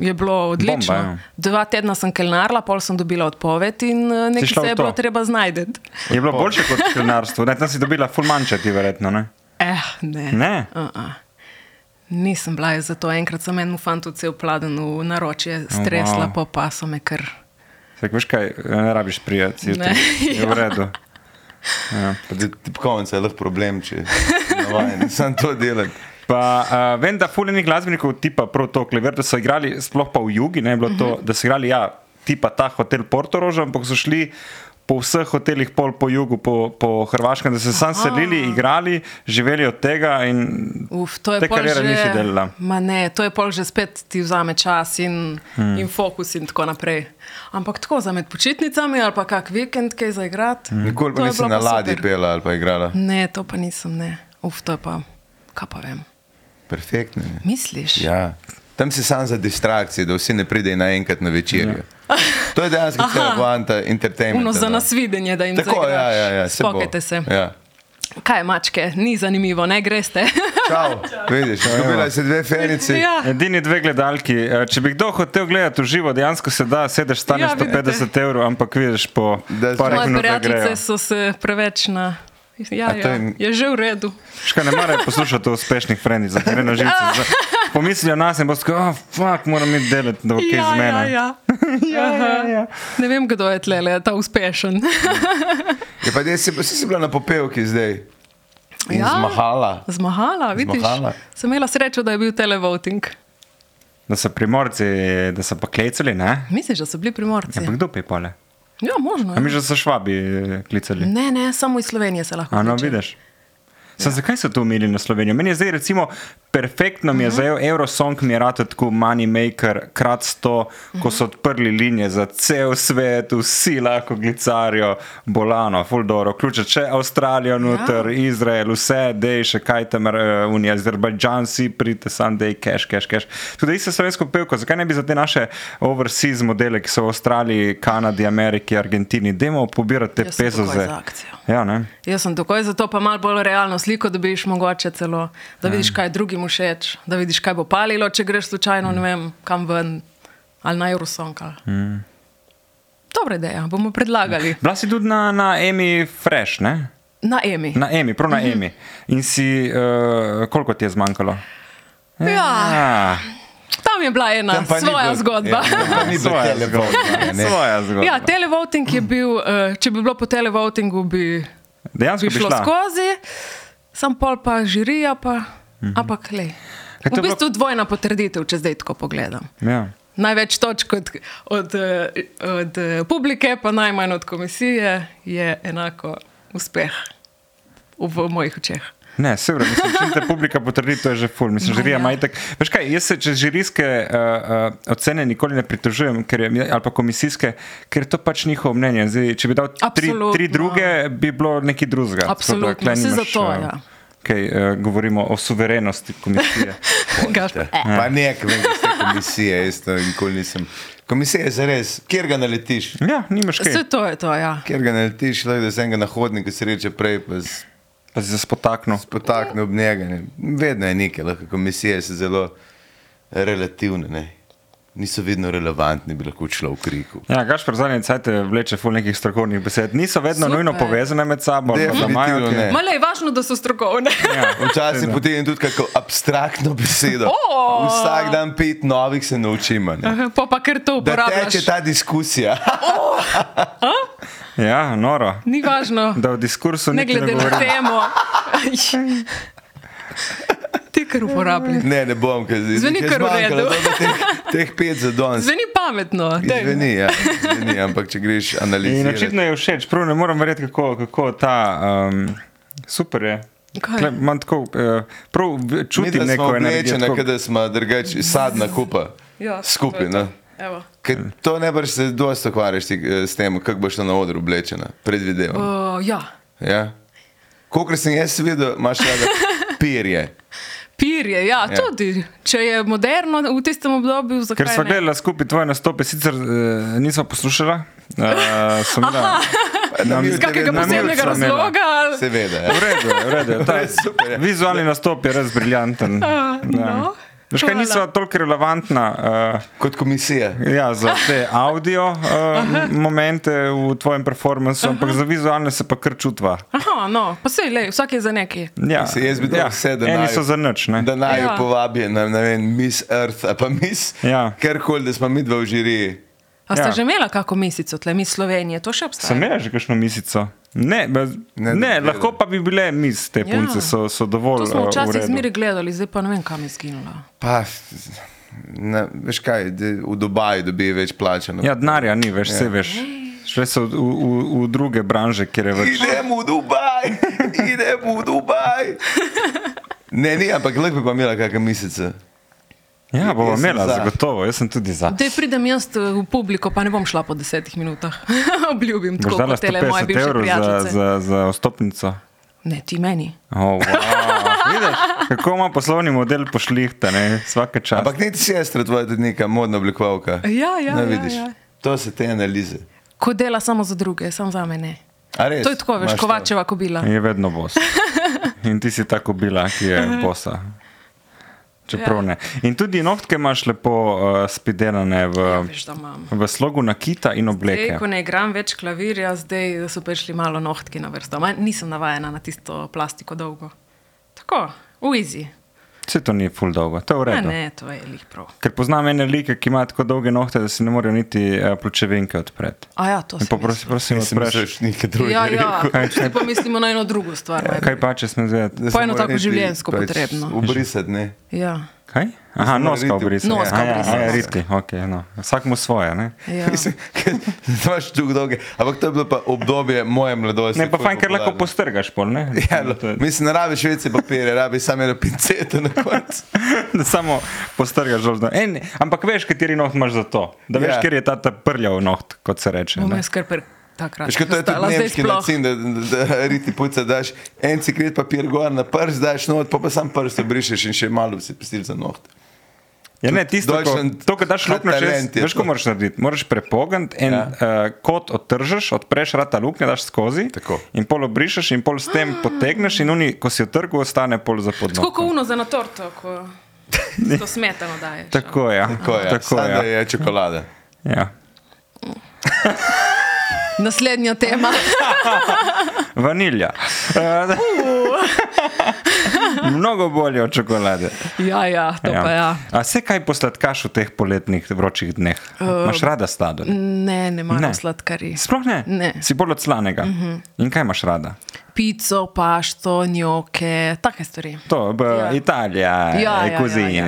A: je bilo odlično.
C: Bomba, ja.
A: Dva tedna sem kelnarla, pol sem dobila odpoved in eh, nekaj
C: šla
A: se
C: v
A: je
C: to?
A: bilo treba znajti.
C: Je bilo boljše kot klinarstvo, ne, tam si dobila full manjše, ti verjetno. Ne?
A: Eh, ne.
C: Ne?
A: Uh-uh. Nisem bila jaz za to. Enkrat sem enemu fantu cel pladen v naročje stresla,
C: wow.
A: wow. pa pa so me kar.
C: Tako veš kaj, eh, ne rabiš prijeti, je,
A: Ne,
C: je
A: ja.
C: v redu.
B: Tipkovnica je lahko problem, če navajen. Sam to delam.
C: Pa, uh, vem, da fuljenih glasbenikov, tipa prav to klavir, da so igrali, sploh pa v jugi, ne je bilo to,
A: Mhm.
C: da so igrali, ja, tipa ta hotel Portoroža, ampak so šli. Po vseh hotelih, pol po jugu, po, po Hrvaškem, da so se sam selili, igrali, živeli od tega. In...
A: Uf, to je
C: Te
A: pol
C: kariere
A: že-
C: nisi delala.
A: Ma ne, to je pol že spet ti vzame čas in, hmm. in fokus in tako naprej. Ampak tako za med počitnicami ali pa kak vikend, kaj za igrati.
B: Nikoli
A: To
B: pa
A: je
B: nisi
A: bilo
B: na
A: pa
B: ladji
A: super.
B: pela ali pa igrala.
A: Ne, to pa nisem, ne. Uf, to je pa, kaj pa vem.
B: Perfektno. je.
A: Misliš?
B: Ja. Tam si sam za distrakcije, da vsi ne pridejo naenkrat na večerjo. Ja. To je dejansko cela poanta entertainmenta.
A: Uno za
B: no.
A: nasvidenje, da jim
B: Tako, ja,
A: zaigraš.
B: ja, ja, se bo.
A: Spokajte se. Ja.
B: Ja.
A: Kaj je mačke, ni zanimivo, ne greste.
B: Čau, vidiš, no, dobila si dve fenici.
A: ja.
C: Edini dve gledalki. eh, Če bi kdo hotel gledati v živo, dejansko se da, sedeš, stane
A: Ja, vidite.
C: 150 evrov, ampak vidiš po parih
B: Da so-
A: Moje
C: minutah no, grejo.
A: prijateljice so se preveč na. Ja,
B: A to
A: ja,
B: je-
A: je že v redu.
C: Škoda, ne more poslušati o uspešnih frendic, ker je na živce. Pomislijo nas in bo skoro, oh, fuck, moram iti delati, da bo kaj
A: ja,
C: z mene. ja.
A: ja, ja. Aha. Ne vem, kdo je tlele, ta uspešen.
B: Je pa dej, si, si, si bila na popevki zdaj. In
A: Ja.
B: Zmahala.
A: Zmahala, vidiš?
B: Zmahala.
A: Sem imela srečo, da je bil televoting.
C: Da so primorci, da so pa klecali, ne?
A: Misliš, da so bili primorci?
C: Ampak kdo pije pole?
A: Ja, možno.
C: A mi
A: Ja.
C: že so švabi eh, klicali.
A: Ne, ne, samo iz Slovenije se lahko. Ja.
C: A no,
A: kliče.
C: vidiš. Sem, zakaj so to umili na Slovenijo? Meni je zdaj, recimo, perfektno
A: Mhm.
C: mi je zajel Eurosong, mi je rado tako Moneymaker, krat 100,
A: Mhm.
C: ko so odprli linije za cel svet, vsi lahko glicarijo, Bolano, Fuldoro, vključno še Avstralijo, noter, ja. Izrael, vse, dej še kaj tam, uh, Unija, Azerbajdžan, si pridite, sam dej, cash, cash, cash. Tudi isto slovensko pevko, zakaj ne bi za te naše overseas modele, ki so v Avstraliji, Kanadi, Ameriki, Argentini, demo pobirati te
A: Jaz sem takoj
C: pezoze.
A: Ja, za akcijo.
C: Ja, ne?
A: Jaz sem takoj za to, pa malo bolj realno sliko dobiš, mogoče celo, da vidiš, kaj je drugim všeč, da vidiš, kaj bo palilo, če greš slučajno, ne vem, kam ven ali na Eurosong. Mm. Dobra ideja, bomo predlagali
C: Bila si tudi na, na Emi Fresh, ne?
A: na EMI.
C: Na Emi, prav na
A: Mhm.
C: mm -hmm. Emi. In si, uh, koliko ti je zmanjkalo?
A: Ja, tam je bila ena
B: Tam pa ni
A: svoja
B: bilo-
A: zgodba.
B: Ja, tam pa ni
C: Ah,
B: bilo
C: svoja
B: telefona,
C: zgodba.
B: ne.
C: Svoja zgodba.
A: Ja, televoting je bil, eh, če bi bilo po televotingu, bi,
C: Dejansko
A: bi
C: bi
A: šlo
C: šla.
A: skozi, sam pol pa žirija, pa, ampak le.
C: Kaj to je
A: V
C: bilo-
A: bistvu dvojna potrditev, če zdaj tako pogledam.
C: Ja.
A: Največ točk od, od, eh, od eh, publike, pa najmanj od komisije, je enako uspeh v v mojih očeh.
C: Ne, se vrnem, če te publika potrdi, to je že ful. Mislim,
A: Ma
C: žirija
A: ja.
C: ima itek. Veš kaj, jaz se čez žirijske uh, uh, ocene nikoli ne pritožujem, ker je, ali pa komisijske, ker je to pač njihovo mnenje. Zdaj, če bi dal tri,
A: Absolutno.
C: tri druge, bi bilo nekaj drugega.
A: Absolutno, vse zato,
C: eh,
A: ja.
C: Kaj, uh, govorimo o eh, suverenosti komisije.
A: Gašper.
B: Pa nek, vem, da ste komisije, jaz to nikoli nisem. Komisija je zares, kjer ga naletiš.
C: Ja, nimaš
A: Vse
C: kaj.
A: to je to, ja.
B: Ker ga naletiš, lahko da se enega na hodniku sreče prej, pa s-
C: Pa si se spotaknil.
B: spotakne ob njega. Ne. Vedno je nekaj, lahko komisije so zelo relativne. Ne. Niso vedno relevantni, bi lahko šlo v kriku.
C: Ja, Gašpor zadnje cajte vleče ful nekih strokovnih besed. Niso vedno
A: Super.
C: Super. nujno povezane med sabo. ali pa da imajo
B: Definitivno
C: kaj-
B: ne.
A: Malo je važno, da so strokovne.
C: Ja.
B: Včasih potegnem tudi kako abstraktno besedo.
A: O!
B: Vsak dan pet novih se naučim. a ne.
A: Pa pa kar to
B: Da
A: uporabljaš.
B: teče ta diskusija.
C: ja, noro.
A: Ni važno,
C: Da v diskursu
A: ne
C: niti
A: glede na
C: govorim.
A: temo. Ti kar uporabljaš.
B: Ne, ne bom, ker zdaj
A: Zveni
B: jih je
A: kar v
B: zmanjkalo,
A: redu.
B: dobro, Teh, teh pet za danes.
A: Zveni pametno. daj.
B: Zveni, ja, zveni, ampak če greš
C: In
B: analizirati.
C: očitno je všeč, prav ne morem verjeti, kako, kako ta um, super je.
A: Kaj?
C: Tle imam Tako, uh, prav v-
B: Mi
C: čutim
B: da smo
C: neko energijo.
B: oblečeni,
C: tako-
B: kot da smo drugače sadna kupa.
A: Ja,
B: Skupaj.
A: to je
B: ne.
A: to. Evo.
B: Ker to ne brž se dosta ukvarjaš ti, eh, s tem, kako boš šla na odru oblečena, predvidevam.
A: O, ja.
B: Ja? Kolikor sem jaz videl, imaš rada pirje.
A: Pirje, ja, ja, tudi. Če je moderno v tistem obdobju, zakaj
C: Ker smo
A: ne?
C: gledali skupaj tvoje nastope, sicer uh, nismo poslušali, uh, sem bila
B: Nam-
A: Iz kakega
B: Na
A: posebnega
B: mivcu
C: imela.
A: razloga. ali-
B: Seveda. ja.
C: v redu, je, v redu. je, ta
B: Res super je.
C: Vizualni nastop je res briljanten.
A: A, no.
C: Veš kaj,
A: Hvala.
C: niso toliko relevantna
B: Kot komisija.
C: uh, ja, za te audio uh, momente v tvojem performansu, ampak za vizualne se pa kar čutva.
A: Aha, no, pa sej, lej, vsak je za neki.
C: Ja,
B: Se jaz bi dal vse, da
C: Eni
B: naj-
C: so za nič. ne.
B: Da naj jo
A: Ja.
B: povabijo na ne vem, Miss Earth ali pa Miss
C: Ja.
B: karkoli, da smo mi dva v žiriji.
A: A ste
C: Ja.
A: ja. že imela kako misico, tle mi Slovenije, to še
C: Sem
A: obstaja.
C: imel že kakšno misico. Ne, ne,
B: Ne,
C: ne,
B: da
C: ne
B: bi
C: lahko
B: vedel.
C: pa bi bile mis, te
A: Ja.
C: punce so, so dovolj.
A: To smo
C: uh, v
A: včasih
C: redu.
A: zmeri gledali, zdaj pa ne vem, kam je zginila.
B: Pa, na, veš kaj, da v Dubaju dobi več plačano.
C: Ja, denarja ni več, vse veš. Šle so v, v, v druge branže, kjer je več.
B: Idemo v Dubaj, idemo v Dubaj. Ne, ni, ampak lepo bi pa imela kakšen mesec.
C: Ja, bomo
B: Jaz sem
C: imela,
B: za.
C: zagotovo, jaz sem tudi za.
A: Da pridem jaz eh, v publiko, pa ne bom šla po desetih minutah. Obljubim,
C: Boš
A: tako
C: dala
A: kot tele moje
C: 150
A: bivše
C: evrov za,
A: prijateljice. Za...
C: za, za vstopnico.
A: Ne, ti meni.
C: Oh, wow. Vidiš, kako ima poslovni model pošlihta, ne? vsake čas.
B: Ampak ne ti sestra, tvoja tudi neka modna oblikovalka.
A: Ja, ja,
B: Ne
A: ja,
B: vidiš.
A: ja.
B: To so te analize.
A: Ko dela samo za druge, samo za mene.
B: A Res,
A: To je tako, veš,
B: Imaš to?
A: kovačeva kobila.
C: Je vedno bos. In ti si tako bila, ki je bosa. Čeprav
A: Mhm. Ja.
C: ne. In tudi nohtke imaš lepo uh, spidelane v,
A: Veš, da imam.
C: v slogu nakita in
A: Zdaj,
C: obleke.
A: Ja, ko ne igram več klavirja, zdaj so prišli malo nohtki na vrsto. Ma, nisem navajena na tisto plastiko dolgo. Tako, v izi.
C: Vse to ni ful dolgo, to je v
A: Ja, Ne,
C: redu.
A: ne, to je lih prav.
C: Ker poznam ene like, ki ima tako dolge nohte, da si ne morejo niti uh, pločevinke odpreti.
A: A ja, to
C: In
A: se
C: pa prosim, prosim,
B: Mislim, da
C: odpreš.
B: je nekaj drugega.
A: Ja, ja.
B: rekel.
C: Kaj, če-
A: Zdaj pa mislimo na eno drugo stvar. najprej.
C: Ja, Kaj pa, če sem zvedel?
B: Da se
A: Pa eno
B: mora
A: tako
B: niti
A: življenjsko potrebno.
B: Obrisati, ne.
A: Ja.
C: Kaj? Aha,
B: mora
C: noska
B: riti.
C: obrisa.
A: Noska
C: Aha, ja,
A: obrisati.
C: ja, riti, okay, no. Vsak mu svoje, ne?
A: Ja.
B: Mislim, ker Imaš tu dolge. Ampak to je bilo pa obdobje moje mladosti.
C: Ne, pa
B: ko je
C: fajn, ker lahko
B: popularno.
C: postrgaš pol, ne?
B: Ja,
C: To je-
B: lo- mislim, ne rabiš več papirja, rabiš samo eno pinceto na koncu.
C: da samo postrgaš žolzno. En, ampak veš, kateri noht imaš za to. Da veš,
B: Ja.
C: yeah. kjer je ta, ta prljav noht, kot se reče.
A: Bom
C: ne.
A: jaz kar pr- takrat.
B: Veš, kot to je tudi
A: postala, zdaj
B: nemški
A: sploh.
B: način, da, da, da riti puca daš en ciklet papir gor na prst, daš not, pa pa sam prst obrišeš in še malo si pestil za noht.
C: Ja, ne, tisto, ko,
B: Deutschland
C: to, ko daš
B: ta
C: luknjo čez,
B: talent je
C: veš,
B: to.
C: ko moraš narediti. Moraš prepogant en
B: Ja.
C: ja. uh, kot odtržeš, odpreš rata luknje, daš skozi
B: Tako.
C: in pol obrišeš in pol s tem potegneš in uni, ko si odtrgal, ostane pol za
A: Ah. Tako kot
C: podnogo.
A: uno za na torto, ko to smetano daješ.
C: Tako je. ja.
B: Tako je,
C: Tako
B: Sanda
C: je.
B: je čokolada.
C: Ja.
A: Naslednja tema.
C: Vanilja.
A: Uh.
C: Eh, Mnogo bolje od čokolade.
A: ja, ja, to ja. pa ja.
C: A se kaj posladkaš v teh poletnih vročih dneh? Uh, imaš rada sladoled?
A: Ne, ne maram
C: Ne.
A: sladkarij.
C: Sploh ne.
A: Ne. Mhm.
C: Si bolj od slanega. Uh -huh. In kaj imaš rada?
A: Pico, pašto, njoke, take stvari.
C: To je
A: Ja.
C: ja. Italija,
A: Ja, ja,
C: ja, kuzine ja,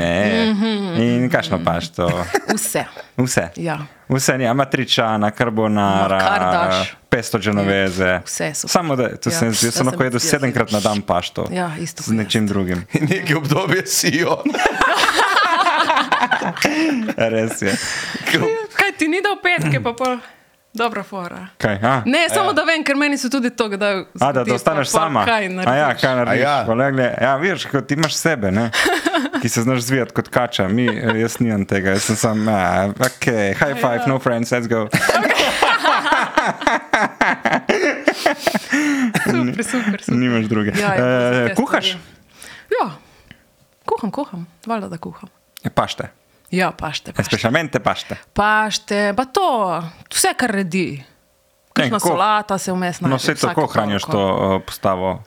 C: ja. in kašno pašto.
A: Vse.
C: Vse.
A: Ja.
C: Vse je matričana,
A: Ma, kar
C: karbonara,
A: daš.
C: pesto genoveze.
A: Vse super.
C: Samo da to
A: Ja,
C: ja. sem,
A: ja,
C: jaz sem
A: sem
C: lahko jedel
A: jaz
C: sedemkrat
A: tudi.
C: na dan pašto.
A: Ja, isto
C: Z
A: kot
C: nečim drugim.
B: In nekaj obdobje si jo.
C: Res je.
A: Kaj ti ni dal petke, pa pa dobra fora.
C: Kaj, a?
A: Ne, samo ja. da vem, ker meni so tudi to, da.
C: A, da, da ostaneš sama.
A: Kaj
C: A ja,
A: narediš?
C: kaj narediš?
B: A ja.
C: Ja. ja, vidiš, kot ti imaš sebe. Ne? ki se znaš zvijati kot kača, mi, eh, jaz nimam tega, jaz sem sam, ah, ok,
A: ja.
C: high five, no friends, let's go.
A: Super, super. super.
C: Nimaš druge.
A: Ja, ja,
C: Eh,
A: jaz
C: kuhaš?
A: tudi. Ja, kuham, kuham, valjda da kuham.
C: Pašte,
A: Ja, pašte, pašte.
C: especialmente pašte.
A: pašte pa to, vse, kar redi. Kakšna
C: Ne, ko-
A: solata se vmes najde.
C: No, vse
A: vsake
C: tako hraniš
A: toliko.
C: to eh, postavo.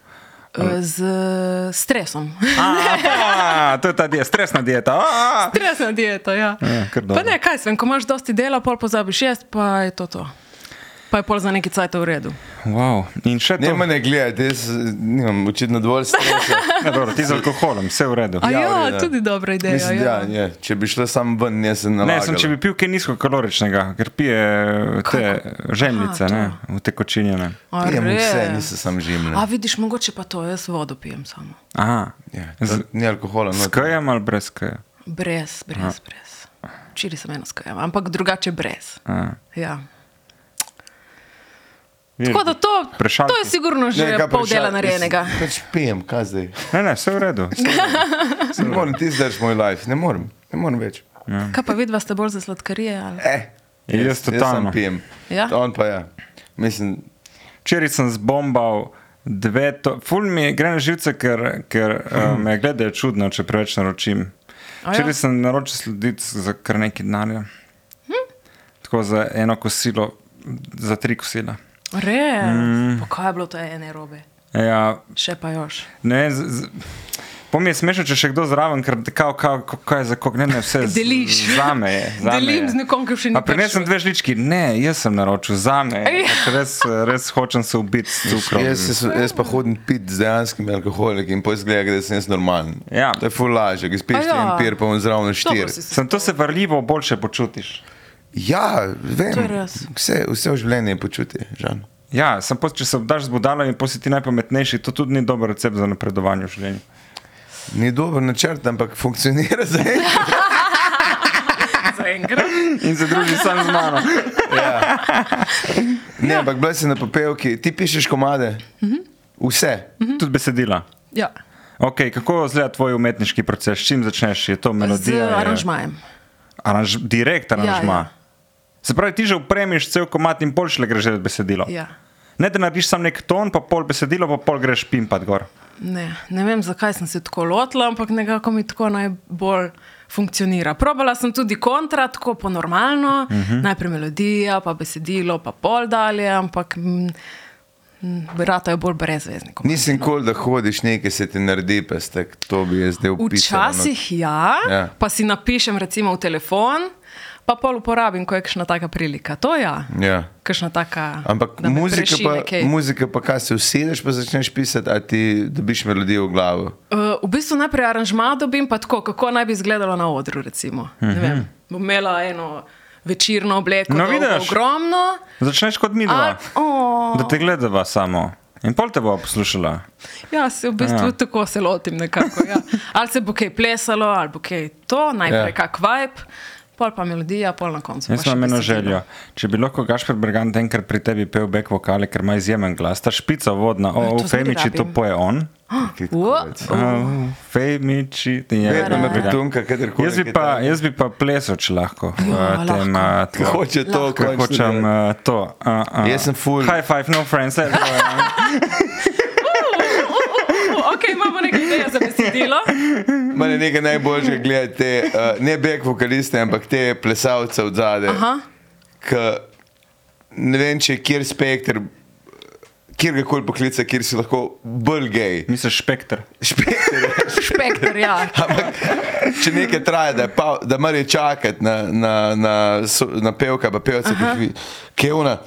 A: Eh, Z eh, stresom.
C: A, to je ta dieta, stresna dieta. A,
A: Stresna dieta, ja.
C: Ja, kar dobro.
A: pa ne, kaj sem, ko imaš dosti dela, pol pozabiš jesti, pa je to to. Pa je pol za neki cajt v redu.
C: wow. In še
B: Ne,
C: to.
B: me ne gledaj, jaz eh, nimam očitno dovolj stresa.
C: Ne, Ja, dobro, ti z alkoholom, vse v redu.
A: A
B: Ja,
A: ja,
B: v redu,
A: ja
B: ja.
A: tudi dobra ideja.
B: Mislim,
A: ja.
B: ja, je, če bi šla sam ven, jaz sem
C: Ne,
B: nalagal.
C: sem, če bi pil kaj nizkokaloričnega, ker pije te žemljice,
A: Aha, to.
C: ne, v tekočinjene.
A: A
B: Pijem
A: res?
B: Ja, vse, nisem sam življen.
A: A vidiš, mogoče pa to, jaz vodo pijem samo.
C: Aha,
B: Ja,
C: z,
B: to ni alkohola,
C: s
B: no.
C: kajem ali brez kaja?
A: Brez, brez, brez. Včeraj sem eno skajala, ampak drugače brez. Ja. Tako da to,
C: Prešalki.
A: to je sigurno že ne, pol dela narejenega.
B: Pač pijem, kaj zdaj.
C: Ne, ne, vse v redu.
B: Ne morem, ti zdrž moj life, ne morem, ne morem več.
A: Kaj pa vidva ste bolj za sladkarije? Ali?
B: Eh,
C: Jaz totalno.
B: Jaz sam pijem.
A: Ja?
B: On pa ja. Mislim,
C: Včeraj sem zbombal dve, to, ful mi je gre na živce, ker, ker uh, me gledajo čudno, če preveč naročim.
A: A ja?
C: Včeraj sem naročil sledic za kar nekaj denarja.
A: Hm?
C: Tako za eno kosilo, za tri kosila.
A: Res, mm. kaj je bilo to ene robe,
C: Ja,
A: še pa još.
C: Ne, z, z, po mi je smešno, če še kdo zraven, ker kao, kao, kao, kaj je za kog, ne, ne, vse z-
A: Deliš.
C: Zame je. Zame
A: Delim
C: je.
A: z nekom, ki še ni
C: A prinesem
A: prišel.
C: dve žlički, ne, jaz sem naročil za me.
A: Ej.
C: Res, res hočem se ubiti s cukrom.
B: jaz, jaz, jaz pa hodim pit z dejanskimi alkoholiki in potem zgleda, da sem jaz normalen.
C: Ja.
B: To je fulaže, ki
A: A
B: spiš
A: ja.
B: ja. en pir, pa on zraven
A: Dobro
B: štir.
A: si se
C: Sem to se varljivo boljše počutiš.
B: Ja,
A: To je
B: vem.
A: res.
B: Vse, vse v življenju je počutje, žal.
C: Ja, sem pa, če se obdaš z budalami, posi ti najpametnejši, to tudi ni dober recept za napredovanje v življenju.
B: Ni dober načrt, ampak funkcionira zdaj.
A: zaenkrat.
C: In se druži sam z mano.
B: Ne,
A: Ja.
B: ampak bila si na papelki, ti pišeš komade.
A: Mhm.
B: Vse.
C: Tudi besedila.
A: Ja.
C: Okay, kako izgleda tvoj umetniški proces, s čim začneš? Je to
A: Z eh,
C: melodija? je-
A: aranžmajem.
C: Aranž, direkt aranžma. Ja,
A: Ja,
C: ja. Se pravi, ti že upremiš cel komat in pol šele greš delati besedilo.
A: Ja.
C: Ne, da narediš sam nek ton, pa pol besedilo, pa pol greš pimpat gor.
A: Ne, ne vem, zakaj sem se tako lotila, ampak nekako mi tako najbolj funkcionira. Probala sem tudi kontra, tako po normalno, uh
B: Mhm.
A: -huh. najprej melodija, pa besedilo, pa pol dalje, ampak m, m, rata je bolj brezveznik.
B: Nisem kol, da hodiš nekaj, se ti naredi, pa stek, to bi jaz zdaj upisal. no.
A: Včasih ja,
B: Ja.
A: ja, pa si napišem recimo v telefon, pa pol uporabim, ko je kakšna taka prilika. To ja.
B: Ja.
A: Kakšna taka.
B: Ampak
A: da me
B: muzika
A: preši
B: pa,
A: nekaj.
B: muzika pa, kaj se usedeš, pa začneš pisati, a ti dobiš melodijo v glavo.
A: Uh, v bistvu najprej aranžma dobim, pa tako, kako naj bi izgledalo na odru. recimo. Ne vem, Bom imela eno večerno obleko,
C: Mhm. No,
A: dolgo,
C: vidiš.
A: ogromno.
C: Začneš kot mi dva.
A: A- no. o.
C: Da te gledava samo. In pol te bo poslušala.
A: Ja, se v bistvu
C: Ja.
A: ja. tako se lotim nekako. Ja. Ali se bo kaj plesalo, ali bo kaj to, najprej
B: Ja.
A: ja. kak vibe, pol pa melodija, pol na koncu.
C: Jaz
A: pa
C: imam
A: še
C: eno
A: besedilo.
C: željo. Če bi lahko Gašpor Bergant enkrat pri tebi pel back vokale, ker ima izjemen glas, ta špica vodna, o, o
A: to zmeraj
C: Femiči to
A: rabim.
C: poje on.
B: Kaj
A: O,
B: takole.
C: O, Femiči, ti je.
B: Vedno me
C: Ja.
B: pritunka, kadarkoli.
C: Jaz bi pa, jaz bi pa plesal, če lahko.
A: Ja,
C: v tem,
A: lahko.
C: eh,
B: Ker
C: tlo-
B: hoče to,
C: Ker
B: končno
C: hočem
B: delati.
C: uh, to. Uh, uh.
B: eh, Jaz sem full-
C: High five, no friends. let's go, ja.
A: U, Ok, imamo nekaj ideje za besedilo.
B: Mene je nekaj najboljšega gledati, te, uh, ne beg vokaliste, ampak te plesalce od zadaj.
A: Aha.
B: Ke Ne vem, če je kjer spektr, kjer ga koli poklica, kjer si lahko bolj gej.
C: Misliš, spektr.
B: Spektr.
A: Špektor, ja.
B: Ampak, če nekaj traja, da, je pa, da mora čakati na, na, na, so- na pevka, pa pevce, ki je ona.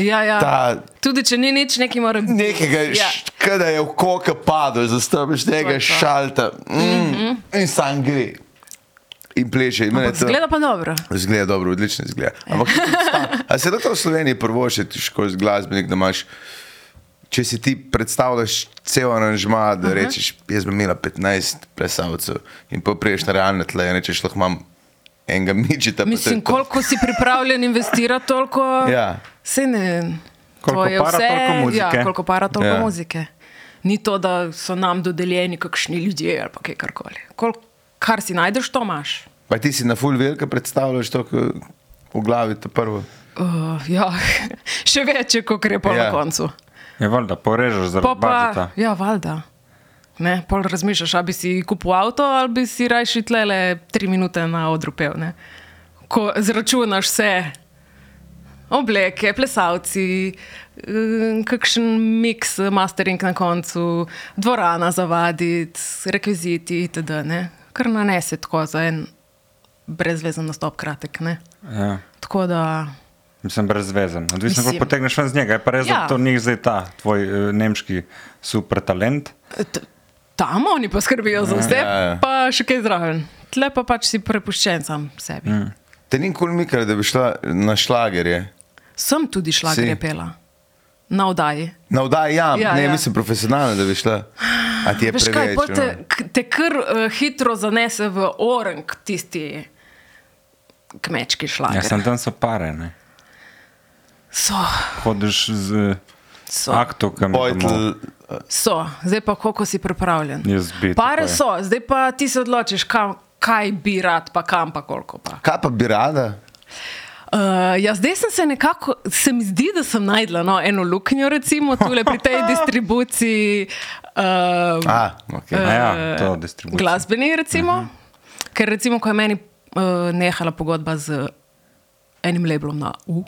A: ja, ja.
B: Ta-
A: Tudi če ni nič, nekaj mora biti.
B: Nekega,
A: Ja.
B: ja. kada je v koka padel, zastaviš
A: To
B: tega
A: je to.
B: šalta mm, mm -hmm. in sam gre. In pleše, in mene to-
A: Zgleda pa dobro.
B: Zgleda dobro, odlično zgleda.
A: Ja.
B: Ampak a se lahko v Sloveniji prvošiš kot glasbenik, da imaš, če si ti predstavljaš cel aranžma, da rečeš, jaz bi imela 15 plesalcev in pa priješ na realne tle in rečeš, lahko imam enega mičita. pa to je
A: Mislim,
B: to."
A: koliko si pripravljen investirati, toliko
B: Ja.
A: se ne.
C: Koliko
A: to je
C: para,
A: vse,
C: toliko muzike.
A: Ja, koliko para, toliko
B: Ja.
A: ja. muzike. Ni to, da so nam dodeljeni kakšni ljudje ali pa kaj karkoli. Kol, kar si najdeš, to imaš.
B: Pa ti si na full velika predstavljaš to, ko v glavi to prvo.
A: Uh, ja, še več, kot je po
B: Ja.
A: ja. koncu.
C: Je valjda, porežeš
A: Po
C: zaradi
A: pa,
C: budžeta.
A: ja, valjda. Ne, pol razmišljaš, ali bi si kupil avto, ali bi si rajši tlele tri minute na odru pel. Ne? Ko zračunaš vse, obleke, plesalci, eh, kakšen miks, mastering na koncu, dvorana za vaditi, rekviziti itd. Ne? Kar nanese tako za en brezvezen nastop kratek. Ne?
C: Ja.
A: Tako da,
C: Mislim, brezvezen. Odvisno,
A: Mislim.
C: kako potegneš ven z njega. Je pa res, ja. da
A: Ja.
C: to ni zdaj ta tvoj eh, nemški super talent.
A: t- tam oni poskrbijo za vse,
B: Ja, ja.
A: pa še kaj zraven. Tle pa pač si prepuščen sam sebi. Mm.
B: Te ni nikoli mikal, da bi šla na šlagerje.
A: Sem tudi šla,
B: Si.
A: ki je pela na oddaji.
B: Na vdaj jam, ja,
A: Ja,
B: ne, ja.
A: ja.
B: mislim profesionalno, da bi šla. A ti je
A: Veš kaj,
B: preveč. no.
A: pol te,
B: ono.
A: k- te kar uh, hitro zanese v orang tisti kmečki šlag.
C: Ja, sem tam so pare. Ne?
A: So,
C: Hodiš z eh,
A: so.
C: aktom.
B: Bojtl,
A: So, zdaj pa koliko si pripravljen.
C: Jaz bi,
A: Pare
C: tako je.
A: so, zdaj pa ti se odločiš, kam, kaj bi rad, pa kam, pa koliko pa.
B: kaj pa bi rada?
A: Uh, ja, zdaj sem se nekako, se mi zdi, da sem najdla no, eno luknjo, recimo tukaj pri tej distribuciji. Uh,
B: A, okay.
C: Eh, ja,
A: eh,
C: to Mhm. distribucijo.
A: Glasbeni, recimo. Uh -huh. Ker recimo, ko je meni uh, nehala pogodba z enim leblom na U.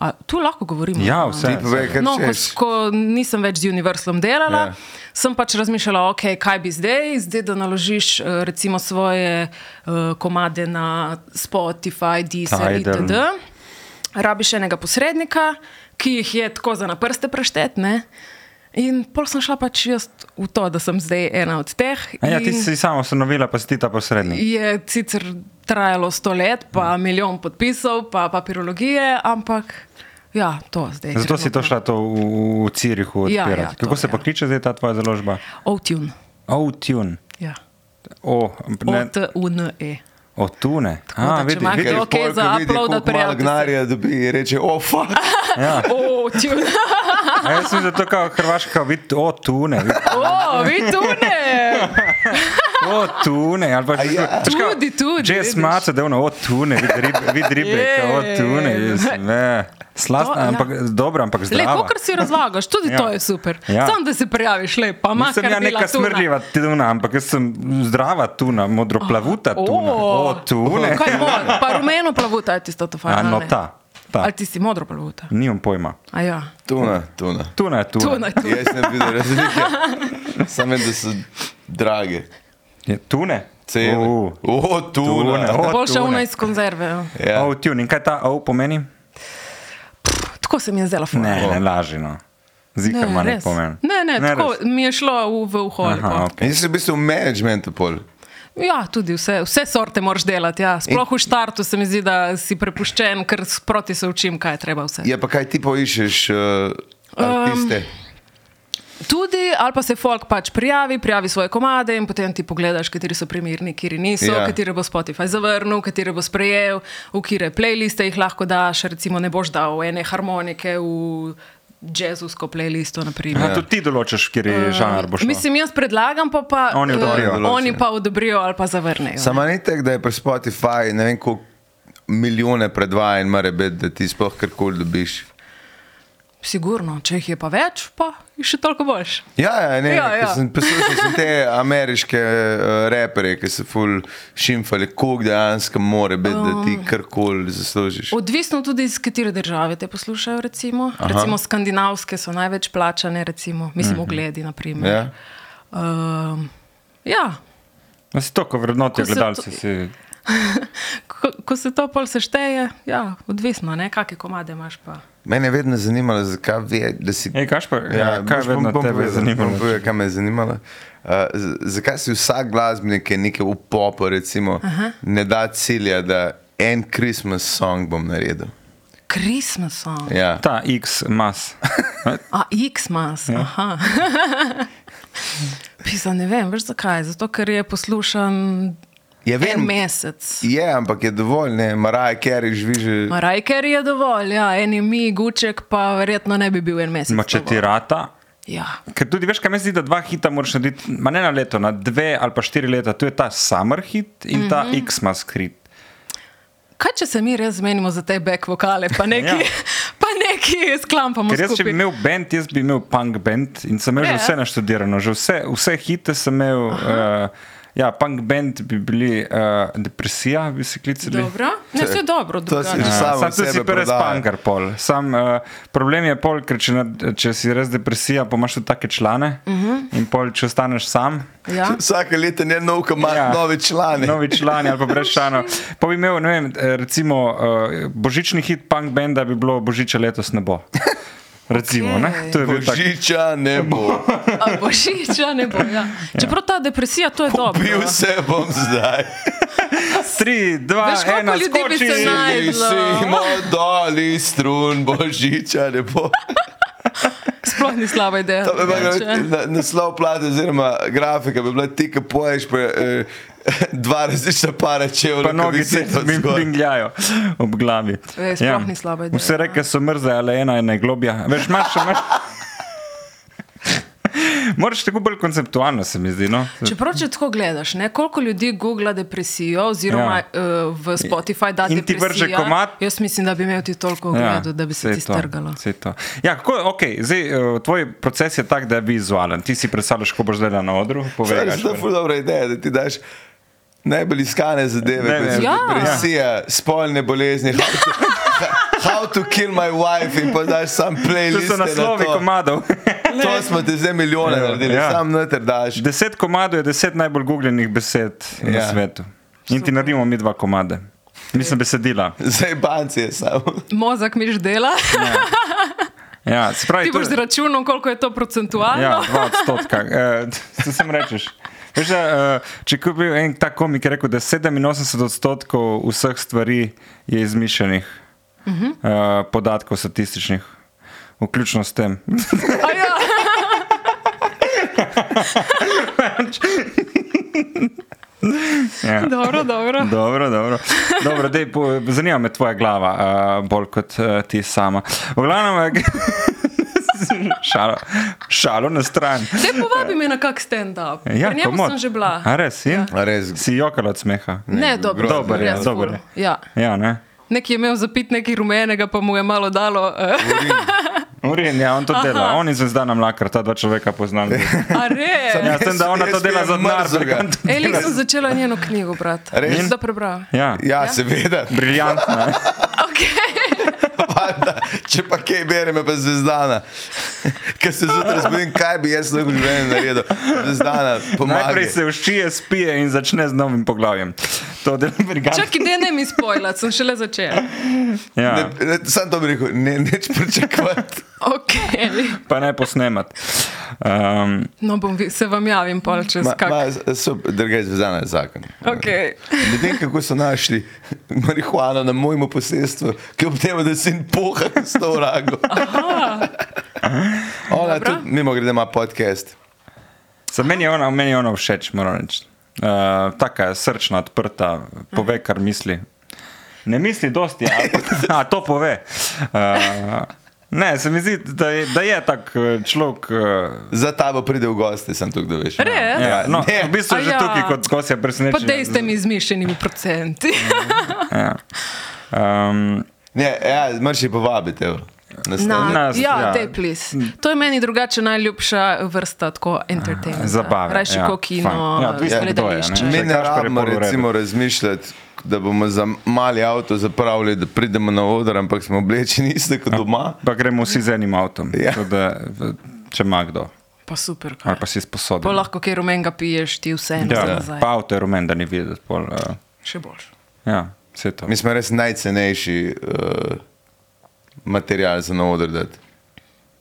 A: A, tu lahko govorimo.
C: Ja,
A: no.
C: vse.
B: Ti povej, kaj
A: No, ko,
B: češ.
A: ko nisem več z Universalom delala,
B: Ja.
A: yeah. sem pač razmišljala, okay, kaj bi zdaj, zdaj da naložiš eh, recimo svoje uh, komade na Spotify, Deezer
C: Tidal.
A: itd. Rabiš enega posrednika, ki jih je tako za na prste preštetne. In pol sem šla pač jaz v to, da sem zdaj ena od teh.
C: A Ja, ti
A: in-
C: si sama ustanovila, pa si ti ta posrednik.
A: je sicer trajalo sto let, pa
C: Mm.
A: milijon podpisov, pa papirologije, ampak ja, to zdaj.
C: Zato si to šla to v, v Cirihu
A: Ja,
C: odpirati.
A: ja, to,
C: Kako se
A: ja.
C: pa kliče zdaj ta tvoja založba?
A: Outune.
C: O-tune.
A: Ja.
C: O, ne,
A: O-T-U-N-E.
C: o tune.
A: da,
C: A,
A: če
C: vidi,
A: ima
C: vidi.
A: kdo-
B: Ker
A: ok,
B: pol, ko
A: za
B: vidi,
A: upload,
B: koliko malo
A: prijavite se.
B: gnarja dobi in reče, o, fuck.
C: Ja.
A: Outune.
C: A Jaz sem zato kao hrvaška, vidi, o tune. vidi,
A: O, vi tune.
C: O tune. Ali pa
B: A ja.
A: Tudi, tudi,
C: Že
A: vidiš.
C: smaca, da je ono, o tune, vidi ribe, vid ribe kao, o tune.
A: Je.
C: jaz, ne.
A: To,
C: Slastna,
A: ja.
C: ampak dobra, ampak
A: Lepo,
C: zdrava.
A: kar si razlagaš, tudi
C: Ja.
A: ja. to je super.
C: Ja.
A: Ja. Sam da se prijaviš, lepa, imaš
C: Nisem ja neka smrdljiva tuna, ampak jaz sem zdrava tuna, modroplavuta tuna. O, tune.
A: Kaj mora? Pa rumeno plavuta je tisto, to fajn.
C: A,
A: a
C: no,
A: ne?
C: ta, ta.
A: Ali tisti modro plavuta?
C: Nimam pojma.
A: A ja,
B: Tuna, tuna.
C: Tuna je tuna.
A: tuna, tuna.
B: Jaz ne vidim razlike. Samo vem, da so drage.
C: Je tune?
B: Cene.
C: O,
B: O,
C: Tune,
B: tuna.
C: o.
A: Boljša
C: tune.
A: una iz konzerve. ja.
B: Ja.
C: O, tune. In kaj ta O pomeni?
A: Tako se mi je zdela fajn.
C: Ne,
B: O.
C: ne laži. No. Zikar ima nek
A: res.
C: pomen.
A: Ne, ne, ne tako
C: res.
A: mi je šlo v, v uho. ali
C: Aha,
A: pa.
C: ok.
B: In si v bistvu v managementu pol.
A: Ja, tudi vse, vse sorte moraš delati. Ja. Sploh v štartu se mi zdi, da si prepuščen, ker sproti se učim, kaj je treba vse.
C: Ja.
B: Je Ja, pa kaj ti poiščeš, uh, artiste? Um,
A: Tudi, ali pa se folk pač prijavi, prijavi svoje komade in potem ti pogledaš, kateri so primerni, kateri niso,
B: Ja.
A: yeah. kateri bo Spotify zavrnil, kateri bo sprejel, v katere playliste jih lahko daš. Recimo, ne boš dal ene harmonike v jazzovsko playlisto.
C: Aha,
A: naprimer.
C: ja. Tudi ti določiš, kjer je žanr boš.
A: Eh, Mislim, jaz predlagam, pa, pa eh,
C: Oni odobrijo.
A: oni pa odobrijo ali pa zavrnejo.
B: Sama ni tako, da je pri Spotify ne vem koliko milijone predvajanj, mora biti, da ti sploh karkoli dobiš.
A: Sigurno, če jih je pa več, pa je še toliko boljš.
B: Ja, ja, ne,
A: Ja,
B: ja, ja.
A: ja.
B: Sem, poslušal sem te ameriške uh, repere, ki so ful šimfali, koliko dejansko more biti, um, da
A: Oh.
B: ti karkoli zaslužiš.
A: Odvisno tudi iz katere države te poslušajo. Recimo, recimo skandinavske so največ plačane, recimo, mislim, ogledi. naprimer.
B: Ja.
A: Ehm, ja.
C: Da si to, ko vrednotijo
A: Ko se to-
C: gledalci. Si...
A: Ko, ko se to pol sešteje, ja, odvisno, ne, kakšne komade imaš. Pa.
B: Mene je vedno zanimalo, zakaj ve, da si.
C: Ej, Gašper, ja, kaj
B: boš-
C: je vedno
B: bom
C: tebe
B: povedal,
C: zanimalo?
B: bom povedal, Kaj me je zanimalo? Uh, z- zakaj si vsak glasbenik, ki je nekaj v popu, recimo, ne da cilja, da en Christmas song bom naredil?
A: Christmas song, ja.
B: Ja.
C: Ta X mas.
A: a Xmas. Ja. Pisa, ne vem, veš zakaj. Zato, ker je poslušan
B: Ja,
A: en
B: vem.
A: mesec.
B: Je, ampak je dovolj, ne, Maraja Kerry živi že.
A: Marajker je dovolj, ja, en je mi, guček pa verjetno ne bi bil en mesec.
C: Ma če ti
A: dovolj.
C: rata,
A: Ja.
C: Ker tudi veš, kaj me zdi, da dva hita moraš narediti, ma ne na leto, na dve ali pa štiri leta. Tu je ta summer hit in mm -hmm. ta
A: Mhm.
C: X-mask hit.
A: Kaj če se mi res zmenimo za te back vokale, pa neki,
C: Ja.
A: ja. pa neki sklampamo
C: Ker jaz, če
A: skupaj?
C: bi imel bend, jaz bi imel punk bend in sem imel že
A: Ja.
C: vse naštudirano, že vse, vse hite sem imel. Uh, ja, punk bend bi bili uh, depresija, bi se klicali.
A: Dobro, ne vse dobro,
B: To si
A: drugače.
B: že
C: Ja,
B: samo
C: Sam
B: od
C: si
B: sebe
C: pa res
B: prodaja.
C: pankar pol. Sam, uh, problem je pol, ker če, na- če si res depresija, pa imaš tudi take člane uh
A: Mhm.
C: -huh. in pol, če ostaneš sam.
A: Ja.
B: Vsake leto je nov komat, ja. novi člani.
C: Novi člani ali pa brez članov. Pa bi imel, ne vem, eh, recimo uh, božični hit punk benda bi bilo božiče letos ne bo. Recimo, okay. ne?
A: Okej.
C: To je bil tak
B: Božiča ne bo.
A: A Božiča ne bo. Ja. Čeprav ta depresija, to je dobro. ja.
B: Bil se bom zdaj.
C: 3, 2,
A: Veš, koliko
C: 1,
A: ljudi bi se naj-
C: skoči.
A: Najdlo.
B: Simo doli strun, božiča ne bo.
A: Sploh ni slaba ideja. Ja,
B: To bi bilo
A: drugače.
B: na- naslov plate, oziroma grafika bi bila ti, ki poješ pa, eh, dva različna para čevljev.
C: Pa noge se zbingljajo ob glavi. Ja.
A: Ej, sploh ni slaba ideja.
C: Vse reke so mrze, ali ena je najglobja. Veš, imaš še imaš. Moraš tako bolj konceptualno, se mi zdi. No?
A: Čeprav, če tako gledaš, ne, koliko ljudi googla depresijo, oziroma ja. uh, v Spotify da
C: In ti vrže
A: depresija,
C: komad.
A: Jaz mislim, da bi imel ti toliko ogledov, ja, da bi
C: saj
A: se ti
C: to,
A: strgalo.
C: saj to. Ja, kako, okay, zdaj, eh, tvoj proces je tak, da je vizualen. Ti si predstavljaš, ko boš zdaj na odru. Povej,
B: To je
C: Gašper.
B: zelo ful dobra ideja, da ti daš najbolj iskane zadeve,
C: Ne,
B: kot
C: ne.
B: so
A: Ja.
B: depresija, spolne bolezni. How to, how to kill my wife in pa daš sam
C: To
B: playlist.
C: so naslovi komadov.
B: To smo te zdaj milijone
C: Ja.
B: naredili,
C: Ja.
B: ja. sam noter daš.
C: Deset komadov je deset najbolj googljenih besed ja. na
B: Ja.
C: svetu. In ti naredimo mi dva komade. Mislim, besedila.
B: Zdaj banci je samo.
A: Mozak miš dela,
C: Ja, se pravi,
A: ti
C: to
A: boš
C: je-
A: računal, koliko je to procentualno.
C: Ja, dva odstotka. Uh, sem rečeš. Veš, da, uh, če bi bil en tak komik, je rekel, da 87 odstotkov vseh stvari je izmišljenih uh
A: Mhm.
C: -huh. uh, podatkov statističnih, vključno s tem.
A: A ja.
C: ja.
A: Dobro, dobro.
C: Dobro, dobro. dobro dej, po, zanima me tvoja glava, uh, bolj kot uh, ti sama. V glavnem, eh, šalo, šalo na stran.
A: Te povabi me na kak stand-up.
C: Ja,
A: Pri njemu
C: komot.
A: sem že bila.
C: A res, ja.
B: A res,
C: si jokal od smeha.
A: Ne, dobro,
B: grozno,
A: dobro,
C: ja,
A: res
C: dobro
A: ful.
C: je.
A: Ja.
C: Ja, ne.
A: Nek je imel zapit nekaj rumenega, pa mu je malo dalo. eh.
C: Urin, ja, on to
A: Aha.
C: dela, on in Zvezdana Mlakar, ta dva človeka poznam.
A: A res?
B: Samo
C: Ja, s tem, da ona to
B: Jaz
C: dela za
B: pijem
C: denar,
B: mrzlega.
C: Bergant to
A: Eli
C: dela-
A: sem začela njeno knjigo, brat.
B: Res?
A: Da prebrala.
C: Ja,
B: Ja, ja. seveda.
C: briljantna. je.
A: Okay.
B: Valjda, Če pa kaj berem, je pa zvezdana. Ker se zjutraj zbudim, kaj bi jaz lahko v življenju naredil. Zvezdana,
C: Najprej
B: pomagaj.
C: se uščije, spije in začne z novim poglavjem. To dela Brigant.
A: Čakaj, da ne mi spojila, sem šele začela.
C: Ja,
B: Ne, ne, sam to bi rekel, ne, neč pričakovati.
A: Okay.
C: pa ne posnemat. Um,
A: No, bom, vi- se vam javim, pol čez
B: Ma-
A: kak.
B: ma, so- Drgaj, zvezana je zakon.
A: Okay.
B: Ne vem, kako so našli marihuano na mojem posestvu, ki ob tem, da si jim poha s to vrago. Ona
A: Dobro.
B: tudi mimo grede ima podcast.
C: Za meni je ona, meni je ona všeč, moram reči. Uh, taka je srčna, odprta, pove, kar misli. Ne misli dosti, ali pa- a to pove. Uh, ne, se mi zdi, da je, da je tak eh, človek. Uh,
B: Za tabo pride v goste, sem tu, kdo veš.
A: Res?
C: Ja, no,
B: Ne.
C: v bistvu
A: A
C: že
A: ja.
C: tukaj kot skozi je
A: Pa
C: presenečen.
A: dej ste mi izmišljenimi procenti.
C: Ja. Um,
B: Ne, ja, moraš jih povabiti. evo,
A: No.
B: na stand-up.
C: nas, ja.
A: ja, te plis. To je meni drugače najljubša vrsta tako entertainmenta.
C: zabave.
A: Rajši
C: ja,
A: kot kino,
C: fajn. Ja, odvisno, kdo je, ne.
A: gledališče.
C: Če
B: Mi
C: je
B: ne
C: Gašper, je
B: rabimo
C: pol v redu.
B: recimo, razmišljati, da bomo za mali avto zapravili, da pridemo na oder, ampak smo oblečeni isto kot doma.
C: pa gremo vsi z enim avtom,
B: Ja.
C: tako da, v- če ima kdo,
A: Pa super. kaj.
C: ali pa si sposoben.
A: Pol lahko kjer rumenega piješ, ti vse eno
C: ja,
A: nazaj.
C: pa avto je rumen, da ni videti. Pol, uh,
A: Še boljš.
C: ja, vse to.
B: Mi smo res najcenejši uh, material za na oder. Dati.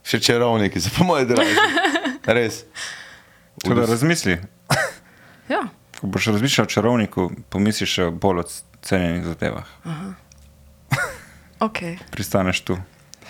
B: Še čarovniki, za moje drage. Res.
C: Tako da razmisli.
A: Ja.
C: Ko boš razmišljal o čarovniku, pomisliš še bolj o c- cenjenih zadevah.
A: Okay,
C: Pristaneš tu.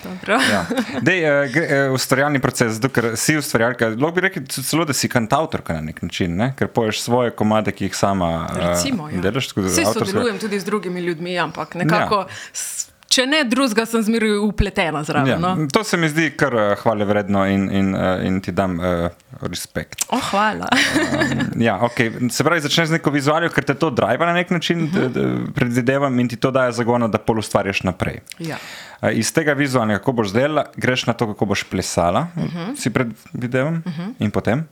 A: dobro.
C: Ja. Dej, eh, gre, eh, ustvarjalni proces, zato ker si ustvarjalka. Lahko bi rekel celo, da si kantautorka na nek način, ne? ker poješ svoje komade, ki jih sama eh,
A: Recimo, ja.
C: delaš. tako da
A: Vsi
C: avtorsko-
A: sodelujem tudi z drugimi ljudmi, ampak nekako ja. Če ne drugega, sem zmeraj upletena zraven.
C: Ja,
A: Ja. No?
C: to se mi zdi kar eh, hvale vredno in, in, eh, in ti dam uh, respekt.
A: Oh, hvala.
C: Um, ja, okay. Se pravi, začneš z neko vizualjo, ker te to drive na nek način,
A: Mhm.
C: uh -huh. predvidevam, in ti to daje zagona, da pol ustvariš naprej.
A: Ja.
C: Eh, Iz tega vizualnega, kako boš delala, greš na to, kako boš plesala, uh
A: Mhm.
C: -huh. si predvidevam, uh -huh. in potem.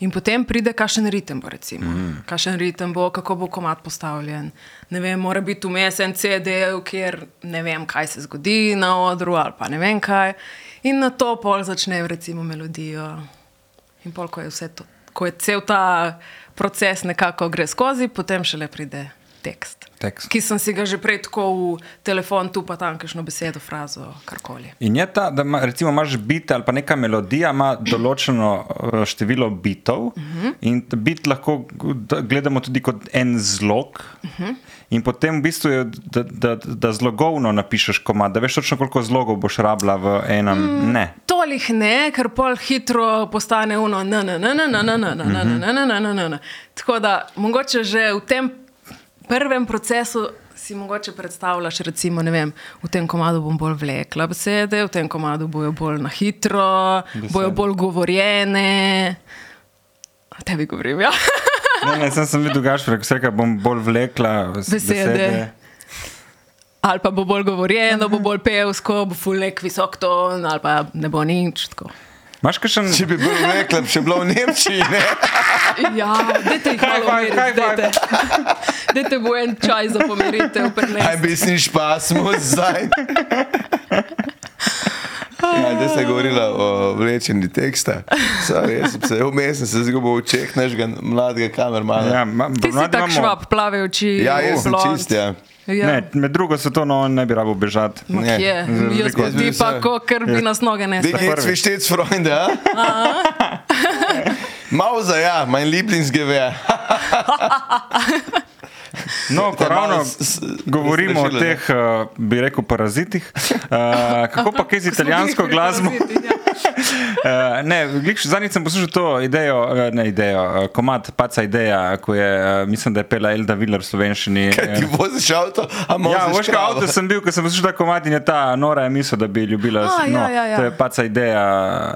A: In potem pride kakšen ritem, bo, recimo. Mm. Kakšen ritem bo, kako bo komat postavljen. Ne vem, mora biti vmes en CD, kjer ne vem, kaj se zgodi na odru ali pa ne vem kaj. In na to pol začnejo recimo melodijo. In pol, ko je, vse to, ko je cel ta proces nekako gre skozi, potem šele pride tekst.
C: Tekst.
A: Ki sem si ga že prej tako v telefon, tu pa tam kakšno besedo, frazo, karkoli.
C: In je ta, da ima, recimo, imaš bit ali pa neka melodija, ima določeno eh, število bitov, uh
A: Mhm.
C: -huh. in ta bit lahko g- da- gledamo tudi kot en zlog. Uh
A: Mhm.
C: -huh. In potem v bistvu je, da, da, da zlogovno napišeš komad, da veš točno, koliko zlogov boš rabila v enem. Mm. Ne.
A: Tolih ne, ker pol hitro postane uno, na, na, na, na, na, na, na, na, na, na, na, na, na, na, na. Tako da mogoče že v tem prvem procesu si mogoče predstavljaš, recimo, ne vem, v tem komadu bom bolj vlekla besede, v tem komadu bojo bolj na hitro, besede. bojo bolj govorjene. O tebi govorim, ja.
C: Ne, ne, sem, sem videl gašpre, ko si rekel, bom bolj vlekla s-
A: Besede.
C: besede.
A: ali pa bo bolj govorjeno, bo bolj pevsko, bo fulek visok ton, ali pa ne bo nič. Tako.
C: Imaš kakšen?
B: Če bi bil rekla, bi še bila v Nemčiji, ne?
A: Ja, dajte jih malo
C: High five,
A: umiriti,
C: high five.
A: dajte. Dajte bo en čaj za pomiritev
B: Aj
A: prinesti.
B: bi si špasmo zdaj. Ja, zdaj ste govorili o vlečenju teksta. Sorry, jaz sem se vmes, sem se zgubil v čeh našega mladega kamermana.
C: Ja, ma,
A: Ti si
C: ponavadi
A: tak
C: imamo-
A: švab, plave oči.
B: Ja, jaz sem
A: blond.
B: čist, ja.
A: Ja.
C: Ne, med drugo se to no, ne bi rabo bežati.
A: Mah
B: ne.
A: je,
C: Za
A: jaz
C: razliko
A: pa
B: od-
A: ti pa,
B: Jaz-
A: ko ker bi nas noge
B: Die
A: nesle.
B: geht's wie stets, Freunde. ja? Mauser, ja, mein Lieblingsgewehr.
C: No, ko
B: Da malo
C: ravno
B: s- s-
C: govorimo o
B: razrešila, ne?
C: teh, eh, bi rekel, parazitih, eh, kako pa kaj z italijansko glasbo? Eh, Ne, glih, zadnjič sem poslušal to idejo, eh, ne idejo, eh, komad, paca ideja, ko je, eh, mislim, da je pela Elda Viller v slovenščini. eh,
B: Kaj ti voziš avto, a moraš.
C: Ja, veš, kaj avto sem bil, ko sem poslušal ta komad in je ta nora je misel, da bi ljubila.
A: A,
C: no,
A: ja, ja, ja.
C: To je paca ideja.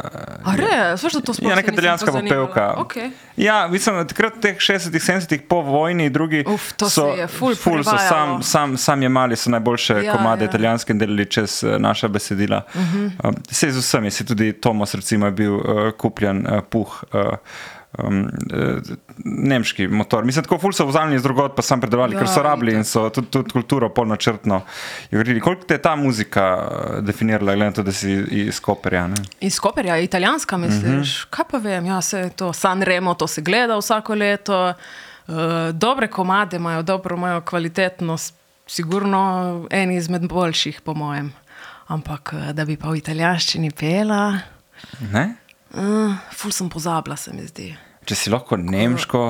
C: eh,
A: A re, slišal to sploh? se
C: Ja, neka
A: nisem
C: italijanska
A: pozanimala.
C: popevka.
A: Okej.
C: Ja, mislim, da takrat v teh 60-ih, 70-ih po vojni, drugi
A: Uf, to se
C: so,
A: je ful
C: ful so
A: prevajalo.
C: sam, sam, sam jemali so najboljše
A: Ja,
C: ja, komade
A: ja. Mhm.
C: ja. italijanske in delali čez eh, naša besedila. Uh -huh. um, se z vsemi, se tudi Tomos recimo je bil uh, kupljen uh, puh. Uh, Um, eh, nemški motor. Mislim, tako ful so vzamljeni z drugot, pa sam predavali, ja, ker so
A: Ja,
C: rabili in so tudi, tudi kulturo polnočrtno govorili. Koliko te je ta muzika eh, definirala, glede na to, da si iz Koperja? Ne?
A: Iz Koperja, italijanska, misliš? Mm -hmm. Kaj pa vem, ja, se to San Remo, to se gleda vsako leto. Uh, dobre komade imajo, dobro imajo kvalitetno, s- sigurno en izmed boljših, po mojem. Ampak eh, da bi pa v italijanščini pela,
C: Ne?
A: uh, ful sem pozabila, se mi zdi.
C: Če si lahko nemško.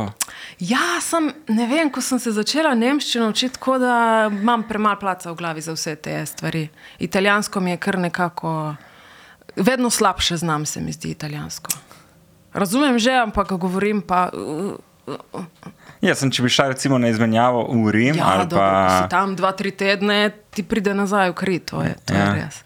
A: Ja, sem, ne vem, ko sem se začela nemščino učiti, tako da imam premalo placa v glavi za vse te stvari. Italijansko mi je kar nekako, vedno slabše znam, se mi zdi italijansko. Razumem že, ampak govorim pa. Uh,
C: Jaz Ja, sem, če bi šel recimo na izmenjavo v Rim,
A: ja,
C: ali
A: dobro, ko
C: pa.
A: si tam dva, tri tedne, ti pride nazaj v kri, to je, to ja.
C: Ja.
A: je res.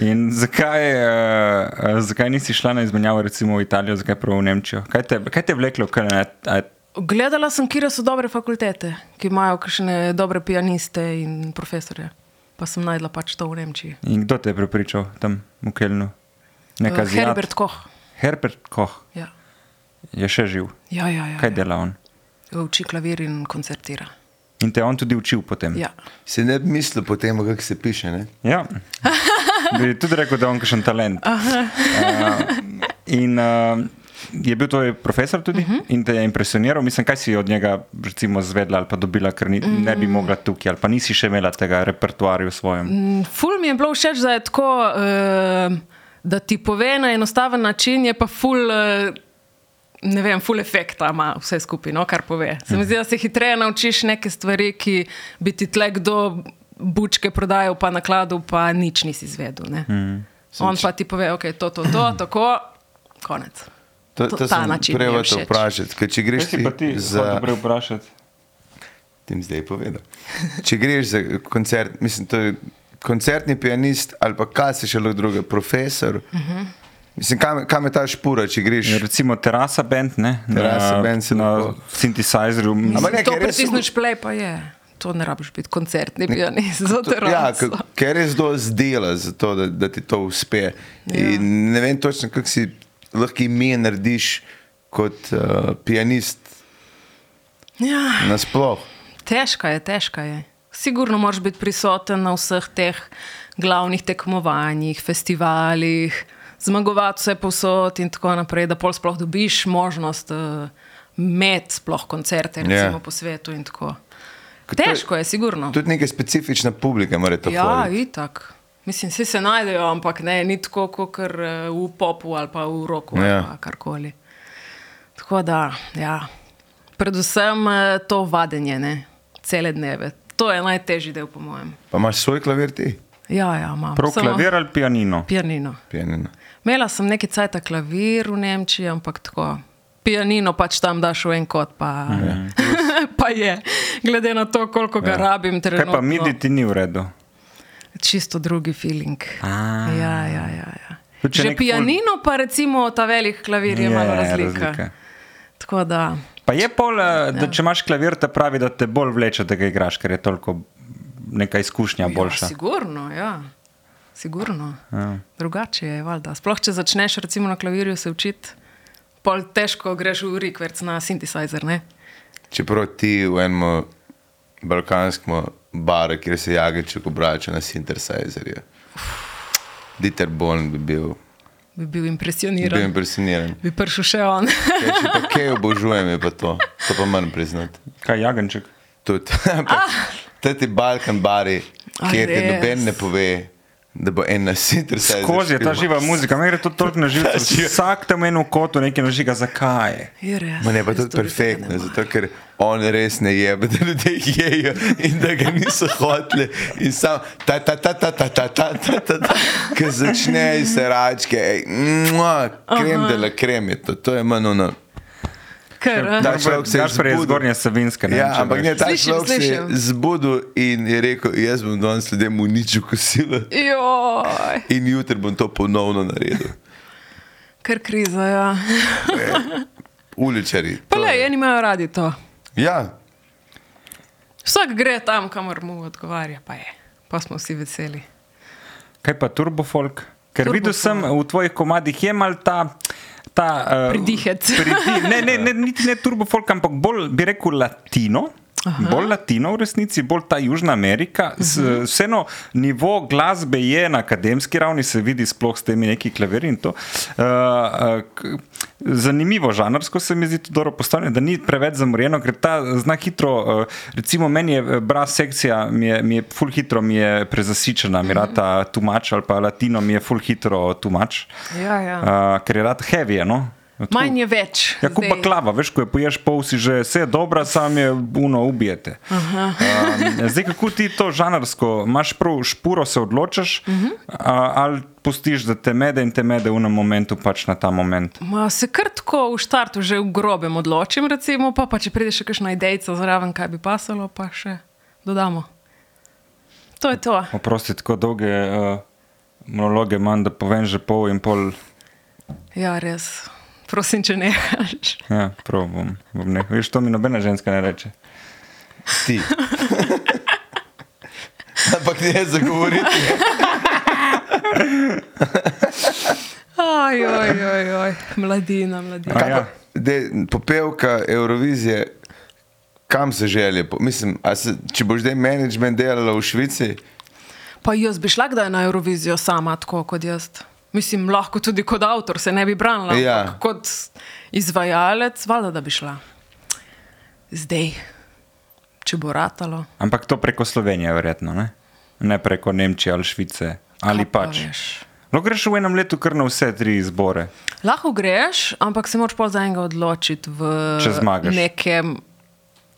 C: In zakaj, uh, zakaj nisi šla na izmenjavo recimo v Italijo, zakaj prav v Nemčijo? Kaj te, kaj te je vleklo? Kaj, ne, a,
A: Gledala sem, kje so dobre fakultete, ki imajo kakšne dobre pianiste in profesorje. Pa sem najdla pač to v Nemčiji.
C: in kdo te je prepričal tam v Kelnu? Neka
A: Eh,
C: zelo.
A: Herbert Koch.
C: Herbert Koch
A: Ja,
C: je še živ.
A: ja, ja. ja,
C: Kaj
A: ja.
C: dela on?
A: Uči klavir in koncertira.
C: In te je on tudi učil
B: Mm.
C: potem.
A: Ja.
B: Se ne bi mislil po tem, kako se piše, ne?
C: Ja. Bi tudi rekel, da je on kakšen talent. Uh, in uh, je bil tvoj profesor tudi uh
A: Mhm.
C: -huh. in te je impresioniral. Mislim, kaj si od njega recimo zvedla ali pa dobila, ker ni, ne bi mogla tukaj, ali pa nisi še imela tega repertoarja v svojem.
A: Mm, Ful mi je bilo všeč, da je tako, uh, da ti pove na enostaven način, je pa ful. Uh, Ne vem, full efekta ima vse skupaj, no, kar pove. Se
B: Mm.
A: mi zdi, da se hitreje naučiš neke stvari, ki bi ti tle kdo bučke prodajal, pa nakladu, pa nič nisi izvedel. Mm. On pa ti pove, ok, to, to, to, tako, konec.
B: To,
A: To-
B: to
A: ta
B: sem
A: način mi je
B: prej hotel
A: všeč.
B: vprašati, ker če greš ti, za...
C: vprašati?
B: Ti mi zdaj povedal. Če greš za koncert, mislim, to je koncertni pianist ali pa kaj se še lahko druge, profesor. Uh
A: Mhm.
B: -huh. Mislim, kam, kam je ta špura, če greš?
C: Recimo terasa bend, ne?
B: Terasa
C: na,
B: bend se
C: na
B: lahko.
C: synthesizerju.
B: Ampak ne,
A: To
B: ker res-
A: pritisneš play, pa je. To ne rabiš biti koncertni pianist, zato je
B: Ja, k- ker res dosti dela za to, da, da ti to uspe. Ja. Ne vem točno, kako si lahko ime narediš kot uh, pianist
A: ja.
B: nasploh.
A: Težka je, težka je. Sigurno moraš biti prisoten na vseh teh glavnih tekmovanjih, festivalih, zmagovati vse posod in tako naprej, da pol sploh dobiš možnost uh, med sploh koncerte, recimo yeah. po svetu in tako.
B: Ja. to je-
A: Težko je, sigurno.
B: Tudi neka specifična publika mora to
A: Ja,
B: hoditi.
A: itak. Mislim, vsi se najdejo, ampak ne, ni tako kot kar, eh, v popu ali pa v roku
B: Ja.
A: ali pa karkoli. Tako da, ja. predvsem eh, to vadenje, ne? cele dneve. To je najtežji del, po mojem.
B: Pa imaš svoj klavir ti,
A: Ja, ja, imam.
C: Prav
A: Samo
C: klavir ali pianino.
A: Pianino.
B: pianino.
A: Imela sem neki cajt klavir v Nemčiji, ampak tako. Pianino pač tam daš v en kot, pa,
C: Mhm.
A: pa je. Glede na to, koliko ga ja. rabim,
C: Kaj
A: trenutno.
C: pa midi ti ni v redu?
A: čisto drugi feeling.
C: A.
A: Ja, ja, ja, ja.
C: Tudi če
A: Že
C: nek
A: pianino, pa recimo ta velik klavir je, je malo razlika. razlika. Tako da,
C: Pa je pol,
A: Ja.
C: eh, da če imaš klavir, te pravi, da te bolj vleče, da ga igraš, ker je toliko neka izkušnja boljša.
A: Ja, sigurno, ja. Sigurno.
C: Ja.
A: Ja. Drugače je, valjda. Sploh če začneš recimo na klavirju se učiti, pol težko greš v rikverc na sintetizer, ne?
B: Čeprav ti v enem balkanskem baru, kjer se jagelček obrača na synthesizerje. Dieter Bohn bi bil,
A: Bi bil
B: bi bil
A: impresioniran.
B: impresioniran.
A: Bi prišel še on.
B: Kaj, če pa kaj obožujem, je pa to, to pa moram priznati.
C: Kaj jagenček?
B: Tudi te ti Balkan bari,
A: Ah! A
B: kjer ti
A: res?
B: noben ne pove, da bo en nasiter se.
C: Skozi je ta živa muzika, meni gre to toliko na živce. Vsak tam eno koto nekaj nažiga, zakaj?
A: Je res.
B: Man je pa
A: jaz
B: tudi
A: tudi tega ne
B: perfektno,
A: morem.
B: zato ker on res ne je, da ljudje jejo in da ga niso hoteli. In sam ta, ta, ta, ta, ta, ta, ta, ta, ta, ta ki začne se račke, ej, mua, krem dela, krem je to, to je manjno.
A: Ker, eh,
B: Da, človek se je
C: Daš prej
B: zbudil.
C: zgornje savinske. ne vem,
B: Ja,
C: če
B: ampak
C: veš.
B: ne, ta
A: Slišim,
B: človek se je
A: slišim.
B: zbudil in je rekel, jaz bom danes ljudem uničil kosilo.
A: Joj,
B: In jutri bom to ponovno naredil.
A: ker kriza, ja.
B: Uličari.
A: Pa
B: to
A: le,
B: je.
A: eni imajo radi to.
B: Ja,
A: Vsak gre tam, kamor mu odgovarja, pa je. Pa smo vsi veseli.
C: Kaj pa turbofolk? Ker
A: Turbofolk.
C: videl sem v tvojih komadih je mal ta. ta uh,
A: Pridihec.
C: pridi, ne, ne, ne, niti ne turbofolk, ampak bolj bi rekel latino. Aha. Bolj latino v resnici, bolj ta Južna Amerika. S,
A: Mhm.
C: vseeno nivo glasbe je na akademski ravni, se vidi sploh s temi neki klavirji in to. Uh, uh, k- zanimivo, žanrsko se mi zdi to dobro postavljeno, da ni preveč zamorjeno, ker ta zna hitro, uh, recimo meni je eh, bras sekcija, mi je, mi je full hitro mi je prezasičena, mi rata
A: Mhm.
C: tumač ali pa latino mi je full hitro tumač,
A: Ja, ja.
C: uh, ker je rata heavy, no? Tako-
A: Manj je več.
C: Ja, kot pa klava, veš, ko je poješ pol, si že vse dobro, sam je uno ubijete. Um, zdaj, kako ti to žanrsko, imaš prav špuro, se odločiš, uh -huh. a, ali pustiš, da te mede in te mede v enem momentu, pač na ta moment.
A: Ma se kar tako v štartu že v grobem odločim, recimo, pa, pa če pride še kakšna idejca zraven, kaj bi pasalo, pa še dodamo. To je to.
C: Oprosti, tako dolge uh, monologe imam, da povem že pol in pol.
A: Ja, res. Prosim, če nehaš.
C: Ja, prav bom, bom nehal. Veš, to mi nobena ženska ne reče.
B: ti. Ampak ne zagovoriti.
A: Ajoj, joj, joj. Mladina, mladina.
C: A
B: Kaj
C: ja.
B: pa, de, popevka Eurovizije, kam se želje? Po, mislim, a se, če boš zdaj management delala v Švici,
A: Pa jaz bi šla kdaj na Eurovizijo sama, tako kot jaz. Mislim, lahko tudi kot avtor se ne bi branila,
B: Ja.
A: ampak kot izvajalec, valjda, da bi šla. Zdaj, če bo ratalo.
C: Ampak to preko Slovenije, verjetno, ne, ne preko Nemčije ali Švice. Ali
A: Kaj pa
C: pač.
A: veš?
C: No, greš v enem letu kar na vse tri izbore.
A: Lahko greš, ampak se moraš pol za enega odločiti v
C: Če zmagaš.
A: nekem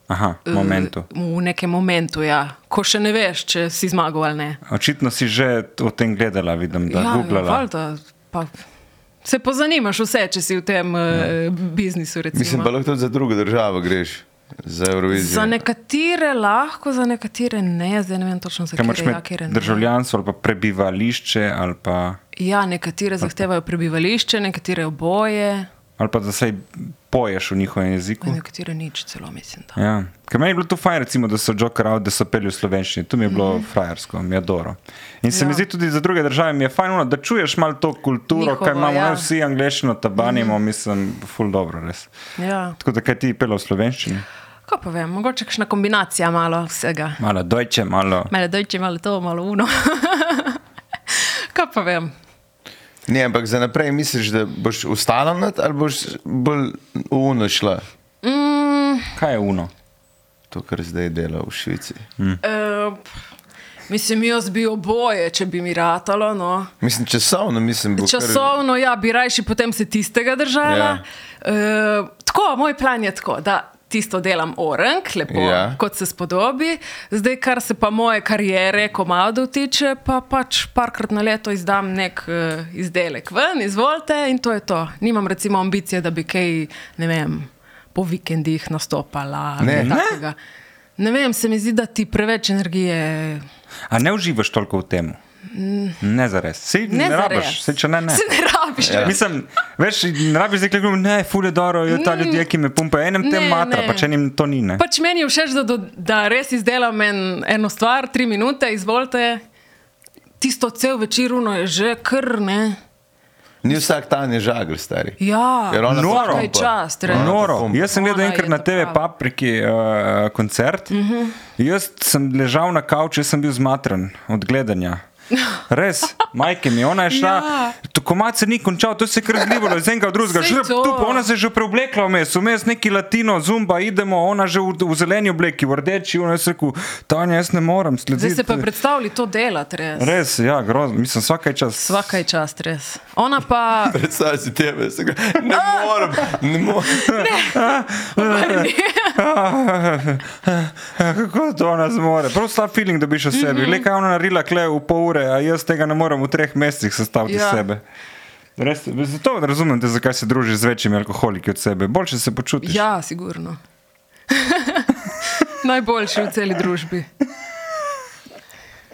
C: Aha,
A: eh,
C: momentu.
A: V nekem momentu, ja. ko še ne veš, če si zmagal ali ne.
C: Očitno si že o tem gledala, vidim, da
A: ja,
C: ja, googlala.
A: valjda, pa se pozanimaš vse, če si v tem ja. eh, biznisu. Recimo.
B: mislim, pa lahko tudi za drugo državo greš. za Eurovizijo.
A: Za nekatere lahko, za nekatere ne, zdaj ne vem točno, ja,
C: Kaj
A: zakaj
C: moraš
A: je
C: imeti
A: jakiren.
C: državljanstvo ali pa prebivališče ali pa,
A: Ja, nekatere zahtevajo prebivališče, nekatere oboje,
C: ali pa da se poješ v njihovem jeziku.
A: in nekatere nič celo, mislim. Da.
C: Ja. Ker meni je bilo to fajn, recimo, da so Joker out, da so peli v slovenščini, to mi je bilo mm -hmm. frajersko, mi je dobro. In se ja. mi
A: Mhm. Ja.
C: zdi tudi za druge države, mi je fajn, ono, da čuješ malo to kulturo,
A: Njihovo,
C: Njihovo, kaj imamo, ja.
A: ja. Mhm.
C: ne vsi angliščino tabanimo, mm -hmm. mislim, ful dobro res.
A: Ja.
C: Tako da kaj ti je pelo v slovenščini?
A: Kaj pa vem, mogoče kakšna kombinacija malo vsega.
C: Malo dojče, malo.
A: Mene dojče malo to, malo uno. Kaj pa vem.
B: Ne, ampak za naprej misliš, da boš ostala nad ali boš bolj unošla
A: Mm,
C: Kaj je uno?
B: to, kar zdaj dela v Švici.
C: Hm.
A: eh, mislim, jaz bi oboje, če bi mi ratalo. No.
B: Mislim, časovno, mislim, bo kar-
A: Časovno, ja, bi rajši potem se tistega držala. Ja. Uh, tako, moj plan je tako, da tisto delam orang, lepo,
B: Ja.
A: ja. kot se spodobi. Zdaj, kar se pa moje karijere, komado tiče, pa pač parkrat na leto izdam nek uh, izdelek ven, izvolite in to je to. Nimam recimo ambicije, da bi kaj, ne vem, po vikendih nastopala.
B: Ne.
A: ali
B: Ne?
A: takega. Ne vem, se mi zdi, da ti preveč energije
C: A ne uživaš toliko v tem? Ne za res. Sej ne,
A: ne
C: ne
A: zares.
C: rabiš, sej če ne, ne.
A: Se ne rabiš.
C: Ja. Mislim, veš, ne rabiš zdaj reči, ne, fulje dobro, je ta ljudje, ki me pumpajo, enem tem
A: Mm. Ne,
C: matra,
A: ne.
C: pa če enim to ni. Ne.
A: Pač meni je všeč, da, do, da res izdelam en, eno stvar, tri minute, izvolite. Tisto cel večer uno je že krne.
B: Ni vsak dan je žagar, stari.
A: Ja,
B: Ker ona
C: Noro.
B: pa-
C: Kaj
A: je čast, res.
C: No, Noro.
B: Ona pa-
C: Jaz sem gledal
A: Ona
C: enkrat
A: je Mhm.
C: na
A: ta
C: TV
A: prava.
C: Papriki uh, koncert. Uh -huh. Jaz sem ležal na kavču, jaz sem bil zmatran od gledanja. Res, majke mi, ona je šla, ja.
A: Ja.
C: tako malce ni končal, to se je kar zlivalo iz enega v drugega,
A: Saj
C: že
A: to.
C: tu, pa ona se je že preoblekla vmes, vmes neki latino, zumba, idemo, ona že v, v zeleni obleki, v rdeči, ona je se rekel, Tanja, jaz ne morem
A: Zdaj
C: slediti.
A: se pa predstavlji to delati, res.
C: Res, ja, grozno, mislim, vsakaj čas.
A: Svaka je čast, res. Ona pa.
B: Predstavljaj si tebe, se ga- ne morem, ne morem.
C: Kako to ona zmore? Prav slab feeling dobiš o sebi.
A: Mhm.
C: Mm -hmm. Le kaj je ona naredila kle v pol ure, a jaz tega ne morem v treh mesecih sestaviti ja.
A: Ja.
C: sebe. Res, zato razumem, te, zakaj se družiš z večjimi alkoholiki od sebe. Boljše se počutiš.
A: Ja, sigurno. Najboljši v celi družbi.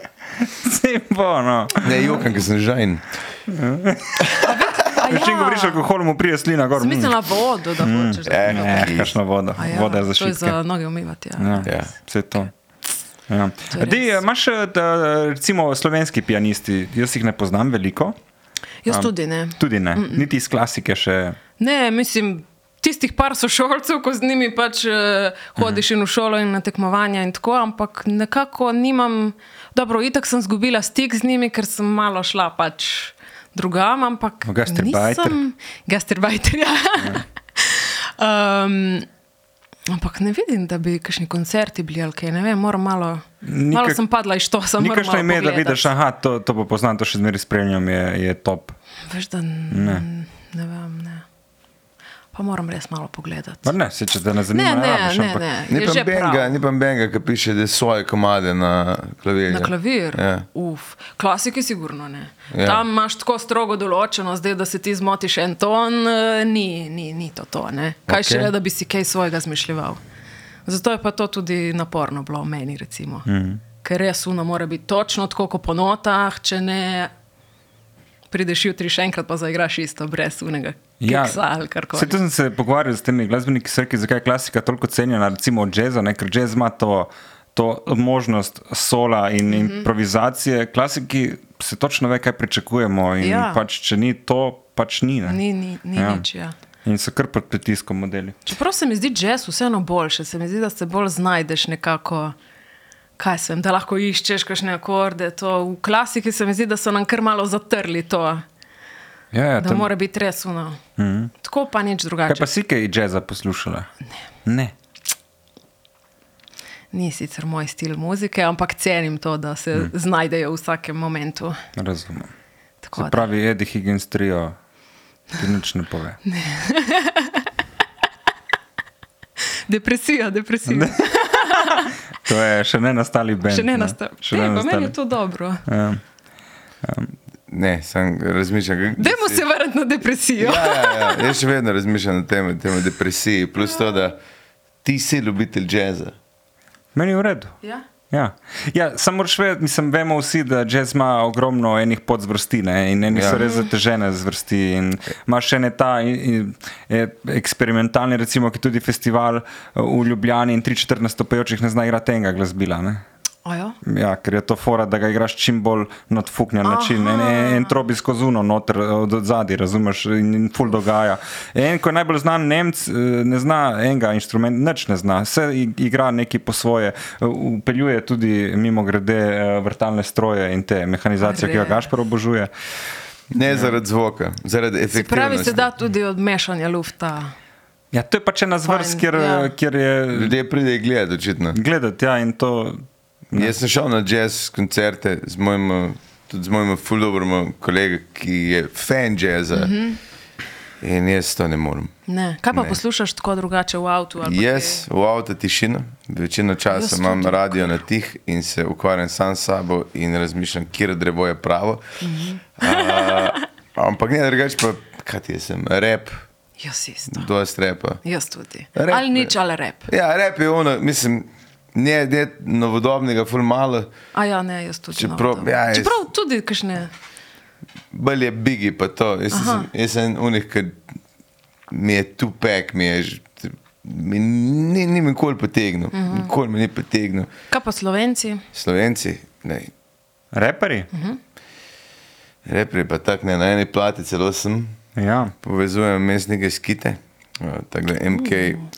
C: Ja. Saj bo, no.
B: Ne, jokam, ker sem žajn.
A: A
C: Če ja. govoriš o alkoholu, mu prije slina gor. mm.
A: Smiselna vodo, da hočeš. da-
B: Eh,
C: Ne, kakšna voda.
A: A
C: Ja, voda je za
A: To je
C: šitke.
A: za noge umivati. Ja.
C: Ja,
B: Ja.
C: vse to. Ja.
A: To je
C: Dej,
A: res.
C: imaš eh, da, recimo slovenski pianisti, jaz jih ne poznam veliko.
A: Jaz
C: Am-
A: tudi ne.
C: Tudi ne, niti iz klasike še.
A: Ne, mislim, tistih par sošolcev, ko z njimi pač eh, hodiš in v šolo in na tekmovanja in tako, ampak nekako nimam, dobro, itak sem izgubila stik z njimi, ker sem malo šla pač drugam, ampak
C: V gastarbajter.
A: nisem- Gastarbajter, ja. um, Ampak ne vidim, da bi kakšni koncerti bili ali kaj. Ne vem, moram malo. Nikak, malo
C: Nikak-
A: sem padla iz to, sem
C: Nikakšno ime, da vidiš, aha, to, to pa poznam, to še zmeraj spremljam, je, je top.
A: Veš, da ne. ne vem, ne. Pa moram res malo pogledati.
C: Mar ne, se če te ne zanima,
A: Ne, ne,
C: rabiš,
A: ne,
C: ampak-
A: ne.
B: Ni
A: je
B: pa
A: že
B: benga,
A: prav.
B: ni pa benga, ki piše, da je svoje komade na klavirju.
A: Na klavir.
B: Ja.
A: Uf, klasiki, sigurno ne.
B: Ja.
A: Ja. Tam imaš tako strogo določeno, zdaj, da se ti zmotiš en ton, eh, ni, ni, ni to to. Ne? Kaj
B: Okej.
A: okay. šele, da bi si kaj svojega zmišljal. Zato je pa to tudi naporno bilo meni, recimo. Mm. ker res uno mora biti točno tako, kot po notah, če ne prideš jutri še enkrat, pa zaigraš isto, brez unega. Ja, ali kar
C: Saj
A: koli.
C: to sem se pogovarjal s temi glasbeniki, srki, zakaj je klasika toliko cenjena, recimo od jazza, ne? ker jazz ima to, to možnost sola in mm -hmm.
A: Mhm.
C: improvizacije. Klasiki se točno ve, kaj pričakujemo in ja.
A: Ja.
C: pač, če ni to, pač ni. ne.
A: Ni, ni, ni
C: Ja.
A: ja. nič. Ja.
C: In so kar pod pritiskom modeli.
A: Čeprav se mi zdi jazz vseeno boljše, se mi zdi, da se bolj znajdeš nekako. Kaj sem, da lahko iščeš kakšne akorde. To. V klasiki se mi zdi, da so nam kar malo zatrli to,
C: Ja, ja,
A: da
C: tam-
A: mora biti res uno. Mm -hmm. Tako pa nič drugače.
C: Mhm. Kaj pa si kaj jazza poslušala? Ne. ne.
A: Ni sicer moj stil muzike, ampak cenim to, da se
C: Mhm.
A: mm. znajdejo v vsakem momentu.
C: Razumem.
A: Tako
C: Se
A: da-
C: pravi, Eddie Higgins trio, ki nič ne pove.
A: Depresija, depresija. Ne,
C: To je še ne nastali bend.
A: še ne nastavi.
C: Še ne
A: Pa meni
C: nastali.
A: je to dobro.
C: Ja.
B: Ne, sem razmišljal. kaj-
A: Dajmo se
C: Ja.
A: vrniti na depresijo.
B: Ja, ja, ja. Jaz še vedno razmišljam o tem, tem depresiji. Plus to, da ti si ljubitelj jazza.
C: Meni je v redu.
A: Ja?
C: Ja. Ja, samo šved, mislim, vemo vsi, da jazz ima ogromno enih podzvrsti ne, in eni ja. so res zatežene zvrsti. in Ima še ne ta in, in, e, eksperimentalni, recimo, ki je tudi festival eh, v Ljubljani in tri četrt nastopajočih ne zna igrati enega glasbila. Ne.
A: Ojo.
C: Ja, ker je to fora, da ga igraš čim bolj nadfuknjen način. En, en, en trobi skozi uno, noter eh, od od zadaj, razumeš, in, in full dogaja. En, ko je najbolj znan Nemc, eh, ne zna enega inštrumenta, nič ne zna, vse i- igra neki po svoje. Eh, Upeljuje tudi mimo grede eh, vrtalne stroje in te mehanizacije, ki jo
A: Res.
C: Gašpor obožuje.
B: Ne zaradi zvoka, zaradi
A: Se pravi,
B: efektivnosti.
A: se da tudi od mešanja lufta.
C: Ja, to je pač ena zvrst,
A: Fajn,
C: kjer,
A: ja.
C: ja. kjer je
B: Ljudje pridejo gledati, očitno.
C: gledati ja, in to.
B: Ne. Jaz sem šel na jazz koncerte z mojim, eh, tudi z mojim fuldobrem kolegom, ki je fan jazza.
A: Mhm.
B: Mm -hmm. In jaz to ne morem.
A: Ne. Kaj pa
B: Ne.
A: ne. poslušaš tako drugače v avtu? ali pa
B: Jaz v avtu tišina, večino časa
A: Jaz
B: imam
A: tudi.
B: radio na tih in se ukvarjam sam s sabo in razmišljam, kje drevo je pravo. Mm
A: Mhm.
B: -hmm. A, ampak ne drugače, pa kaj ti sem, rep,
A: kje? Jaz isto.
B: dosti repa.
A: Jaz tudi.
B: Rap,
A: Rap, ali
B: ne.
A: nič, ali rep.
B: Ja, rep je ono, mislim, ne, ne novodobnega, ful malo.
A: A ja, ne, jaz tudi.
B: Čeprav-
A: no, to.
B: ja, jaz-
A: Čeprav tudi kakšne.
B: bolj je bigi, pa to. Jaz sem, jaz sem unih, ki mi je tu pek, mi je že. Mi, ni, ni mi nikoli potegnil, uh -huh.
A: Mhm.
B: nikoli mi ni potegnil.
A: Kaj pa slovenci?
B: Slovenci, ne,
C: Reperi? Mhm.
B: repri pa tak ne, na eni plati celo sem,
A: Mhm.
C: Ja,
B: povezujem mestnike skite, tako da MK,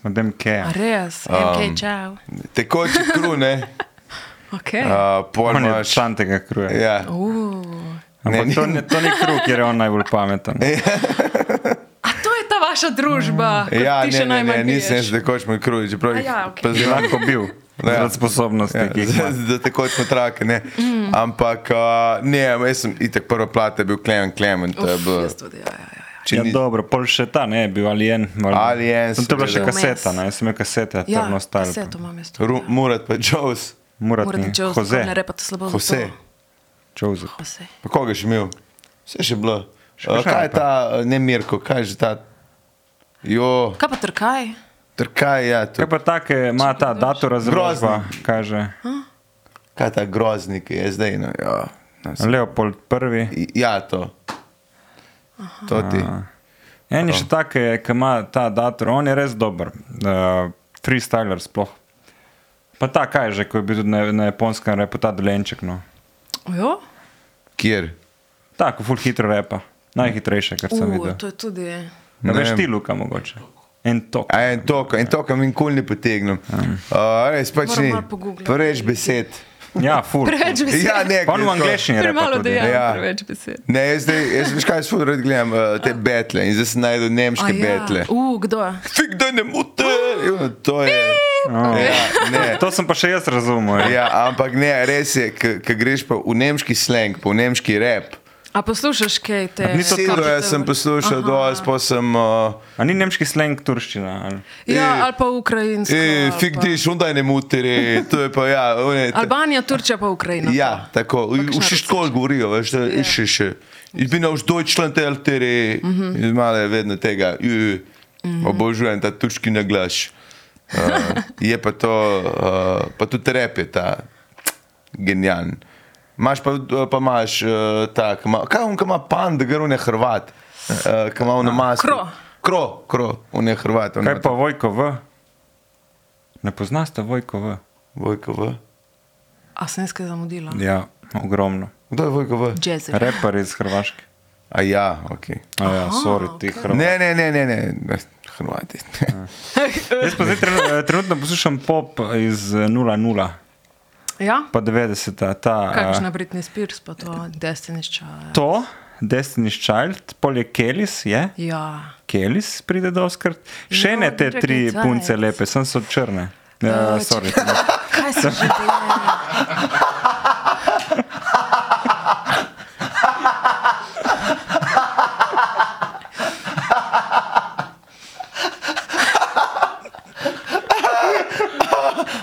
C: odem kje.
A: A res, um,
B: Um,
A: MK, čau.
B: tekoči kru, ne,
A: Okay. Uh,
B: uh, pol
C: On je
B: imaš.
C: član tega kruja.
B: Ja,
A: uh.
C: Ampak
B: Ne,
C: to,
B: ni- Ja.
C: ni- to ni kruh, kjer je on najbolj pameten.
A: A to je ta vaša družba, ki
B: ja
A: ti še
B: ne, ne,
A: najmanj
B: ne, nisem jaz
A: piješ.
B: tekoč moj kruj, čeprav
A: A
B: jih
A: ja, okej.
B: pa
C: Bi
B: znam
C: lahko bil,
B: Ja.
C: zaradi sposobnosti,
B: Ja,
C: ki jih ima.
B: za tekoče trake. Ne. Mm. Ampak uh, ne, jaz sem itek prva plata, je bil Klemen Klemen. to je
A: Uf,
B: bilo-
A: jaz tudi, ja, ja, ja.
B: če
C: Ja,
B: ni-
C: dobro, pol še ta ne, je bil alien. valjda.
B: Alien,
C: To je bila še
A: seveda.
C: kaseta, ne, jaz sem imel kasete,
A: Ja,
C: trno
A: ja vse
C: stalo.
A: to imam jaz. tudi,
B: Ru-
A: ja.
B: Murat pa Joes,
C: Morat
A: Morat
C: ni,
A: bi čel,
C: Jose,
A: ne repate slabo. za
B: Jose.
A: Oh, to.
C: Jose.
A: Jose.
B: Pa koga še imel? Vse še bilo.
C: Še
B: Uh,
C: kakšen
B: kaj je
C: pa?
B: ta, uh, ne Mirko, kaj je že ta? Jo,
A: Kaj pa trkaj?
B: trkaj, ja, to,
C: Kaj pa take, ima ta datura zgrožba, kaže
B: kaj je ta groznik, ki je zdaj. No, jo, no, se-
C: Leopold I.
B: ja, to. To ti.
C: Ja. En je še take, ki ima ta dator, on je res dober, uh, freestyler sploh. Pa ta kaj že, ko je bil tudi na, na japonskem repu, ta dolenček. No.
A: Ojo?
B: Kjer?
C: Tako, full hitro repa, najhitrejše, kar sem
A: U,
C: videl.
A: to je tudi.
C: Ne
B: Ne
C: veš
B: vem.
C: ti, Luka, mogoče. En tok.
B: A en to, en to, kam nikoli ne potegnem. Uh, res pač
A: Moram
B: ni.
A: malo pogooglati.
B: Preveč besed.
C: Ja, ful.
A: Preveč besed.
B: Ja, ne,
C: On v angleščini repa
A: Premalo
C: tudi.
A: dejanj, ja.
B: Ja.
A: preveč besed.
B: Ne, jaz zdaj, jaz veš kaj, jaz ful rad gledam uh, te betle in zdaj sem najdel nemške ja. betle.
A: U, Uh, kdo?
B: Fik, da ne mute! Jo, To je.
C: Oh.
B: Ja, ne.
C: To sem pa še jaz razumel. Ja.
B: Ja, ampak ne, res je, ki greš pa v nemški slang, pa v nemški rap.
A: A poslušaš kaj te?
C: Niso
B: Sedaj,
A: kaj
B: jaz
A: te-
B: sem poslušal, do jaz pa sem. Uh,
C: A ni nemški sleng turščina? ali?
B: Eh,
A: Ja, ali pa ukrajinsko.
B: e,
A: ali
B: fik,
A: pa-
B: diš, undaj ne mutiri. To je pa ja. One, ta,
A: Albanija, Turčija pa Ukrajina.
B: Ja, tako.
A: No Kakšna Ja.
B: Še tako govorijo, veš, da je še še. Jaz bi na Deutschland LTR,
A: Mhm.
B: malo je vedno tega, "Ju, obožujem ta turški naglaš. Uh, je pa to, uh, pa tudi rep je ta genijalen. Imaš pa, pa imaš uh, ta, ki ima- kaj on, ki ima pan, da gre on je Hrvat, uh, ki ima on masko.
A: Kro.
B: Kro, kro, on je Hrvat. on
C: Kaj
B: ima
C: pa Vojko V? Ne poznaš ta Vojko V?
B: Vojko V.
A: A sem nekaj zamudila.
C: Ja, ogromno.
B: Kdo je Vojko V?
A: Jazz.
C: Repar iz Hrvaške.
B: A ja, ok.
C: A ja,
A: Aha,
C: sorry, ti
A: okej.
C: Hrvati.
B: Ne, ne, ne, ne, ne, ne. Hrvati.
C: Jaz pa zdaj trenutno, trenutno poslušam pop iz eh, 00,
A: Ja?
C: pa 90. Ta, eh,
A: Kakšna Britney Spears, pa to Destiny's Child.
C: to, Destiny's Child, pol je Kelis, je.
A: Ja.
C: Kelis pride doskrat. Še ne te tri punce lepe, sem so črne.
B: Ja,
C: Uh,
A: Eh,
C: sorry,
A: Kaj se že dogaja?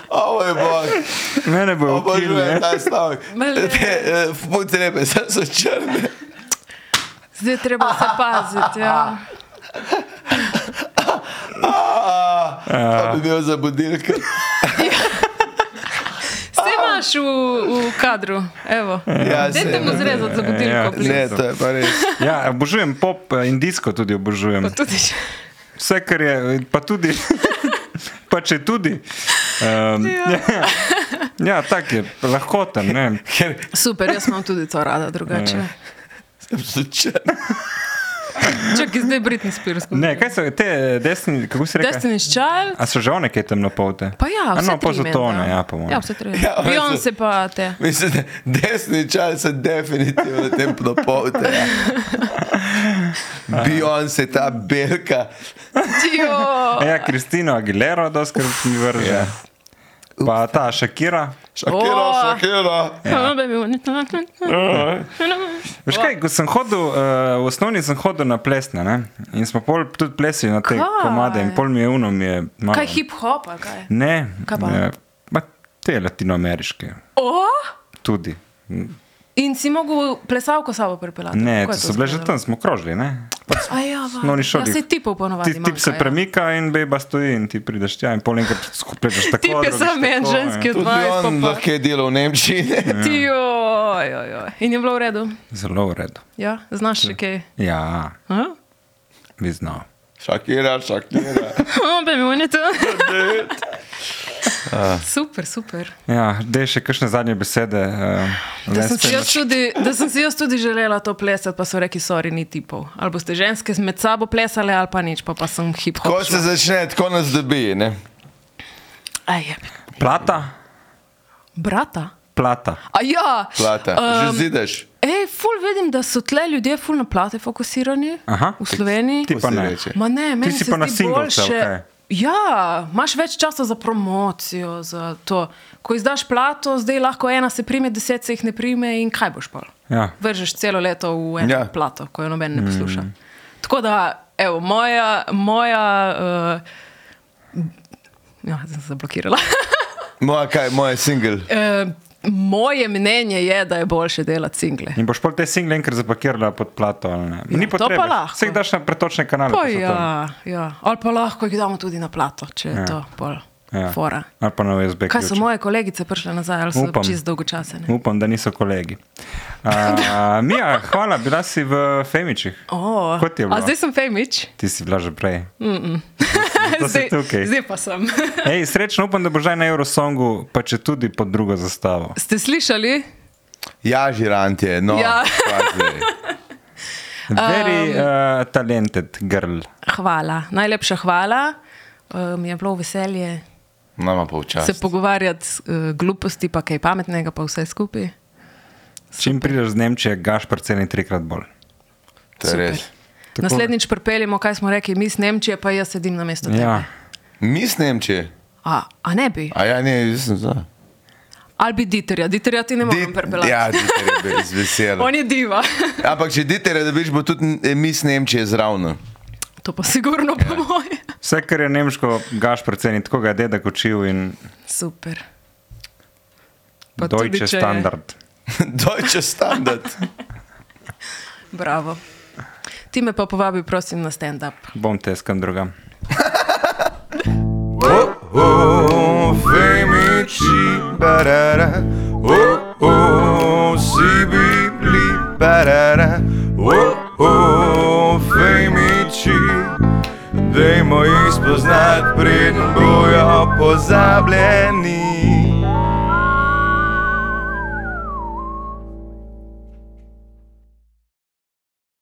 B: Ovo je bog.
C: mene bo ukinil.
B: Obožujem ta stavek.
A: Mele.
B: Te, eh, Punce lepe, sem so črne.
A: Zdaj je treba se paziti. Ja.
B: Ah, To bi bil za budilke.
A: Vse imaš v, v kadru, evo.
B: Ja, saj,
A: Dajte mu
B: ne,
A: zrezati za
C: ja,
A: budilko. prosim.
B: Ne, to je pa res.
C: Ja, obožujem pop eh, in disko tudi obožujem.
A: Pa tudi še.
C: Vse, kar je, eh, pa tudi, pa če tudi. Um, ja, ja tako je, lahkoten. ne.
B: Ker
A: Super, jaz imam tudi to rada drugače.
B: Ja. sem slučajen.
A: Čakaj, zdaj Britney Spears.
C: Ne, kaj so te eh, desni, kako se reče?
A: Destiny's Child.
C: A so že one, ki je temnopolte?
A: Pa ja,
C: A
A: vse
C: no, pa
A: tri
C: so
A: menda.
C: to one, ja, po mojem.
A: Ja, vse tri.
B: Ja,
A: Ja,
B: one so-
A: Beyoncé pa te.
B: Mislim, da desni čas je definitivno temno povte. Ja. Beyoncé, ta belka.
A: Dio.
C: Ja, Kristino Aguilero, da skrat mi vrže.
B: Ja.
C: Pa ta Shakira.
B: Šokira,
A: O.
B: šokira.
A: Ja. Ja.
C: Veš kaj, ko sem hodil, uh, v osnovni sem hodil na plesne ne? in smo pol tudi plesili na te
A: Kaj?
C: komade in pol mi je uno mi je malo.
A: Kaj hip-hop, ali kaj?
C: Ne,
A: Kaj pa?
C: eh, pa te latinoameriške
A: O?
C: tudi.
A: In si mogel plesalko sabo pripeljati.
C: Ne,
A: Kako
C: to
A: je
C: so bile že
A: izgledalo?
C: tam, smo krožili. Ne? Pač
A: A ja, v
C: osnovni šoli.
A: Ja, se tipov ponovadi.
C: Ti, tip se
A: manjka, ja.
C: premika in beba stoji in ti prideš tja in pol enkrat skupaj daš tako.
A: Tip je
C: drugič
A: samo en
C: tako, ja.
A: ženski od
B: Tudi
A: 20
B: on
A: pa
B: lahko je delal v Nemčiji. Ne?
A: pa. Ti, oj, oj, oj. In je bilo v redu.
C: Zelo v redu.
A: Ja, znaš še kaj.
C: Ja,
A: Ha?
C: vi znamo.
B: Šokira, šokira.
A: O, pa mi oni to. Super, super.
C: Ja, dej še kakšne zadnje besede. Uh,
A: Da sem, si jaz tudi, da sem si jaz tudi želela to plesati, pa so rekli, sorry, ni tipov. Ali boste ženske med sabo plesale, ali pa nič, pa, pa sem hip-hop.
B: Ko se začne, tako nas dobi. Ne?
A: Aj,
C: Plata,
A: brata.
C: plata.
A: A ja,
B: Plata. Um, Že zidaš.
A: Ej, ful vidim, da so tle ljudje ful na plate fokusirani
C: Aha.
A: v Sloveniji.
C: Ti
B: Ko
C: pa
B: se
C: ne.
B: reče.
A: Ma ne, meni
C: si
A: se
C: pa na
A: zdi
C: singlovce,
A: boljše-
C: ali kaj?
A: Ja, imaš več časa za promocijo, za to. Ko izdaš plato, zdaj lahko ena se prime, deset se jih ne prime in kaj boš pa?
C: Ja.
A: Vržeš celo leto v eno
B: Ja.
A: ja. plato, ko jo noben ne posluša. Mm. Tako da, evo, moja. moja uh, ja, sem se zablokirala.
B: Moja, kaj, moja single.
A: uh, moje mnenje je, da je boljše delati single.
C: In boš pol te single enkrat zapakirala pod plato. ali Ne?
A: Ja,
C: Ni
A: to pa
C: potrebe.
A: lahko.
C: Vseh daš na pretočne kanale.
A: Pa
C: pa so to.
A: ja, ja. Ali pa lahko jih damo tudi na plato, če je
C: Ja.
A: ja. to bolj
C: Ja.
A: ja. fora.
C: Ali pa na USB.
A: Kaj so
C: ključe.
A: moje kolegice prišle nazaj, ali
C: Upam.
A: so čez dolgočasene?
C: Upam, da niso kolegi. Uh, Mija, hvala, bila si v Femičih.
A: Oh,
C: Kot je bilo?
A: a zdaj sem femič,
C: Ti si bila že prej. Mm -mm. To si
A: zdaj,
C: tukaj.
A: zdaj pa sem.
C: Ej, srečno upam, da boš zdaj na Eurosongu, pa če tudi pod drugo zastavo.
A: Ste slišali?
B: Ja, žirant je. No,
A: Ja.
B: kaj zdaj?
C: Very uh, talented girl.
A: Hvala, najlepša hvala. Uh, mi je bilo veselje
B: Nama pa
C: Ja.
B: včasih.
A: se pogovarjati, uh, gluposti, pa kaj pametnega, pa vse skupaj.
C: Čim prideš z Nemčije, gaš parceni trikrat bolj.
B: To je res.
A: Super. Naslednjič pripeljemo, kaj smo rekli, mi iz Nemčije, pa jaz sedim na mestu.
C: Ja.
B: Mislim, če.
A: A, a ne bi,
B: A ja, ne, jaz sem za.
A: ali bi Diterja, Diterja ti ne morem pripeljati.
B: ja, Dieter je bil z veseljem.
A: On je diva.
B: Ampak če Dieter, da biš, bo tudi eh, mis Nemčije zraven.
A: To pa sigurno po
C: Ja.
A: moje.
C: Vse, kar je nemško, gaš predvsej, tako ga je dedek učil in
A: Super. Pa tudi,
C: dojče
A: če je-
C: standard.
B: Deutsche standard.
A: Bravo. Ti me pa povabi, prosim, na stand-up.
C: Bom teskam drugam.
B: oh, oh, femiči, barara. Oh, oh, si bi bili, barara. Oh, oh, femiči. Dajmo jih spoznati, preden bojo pozabljeni.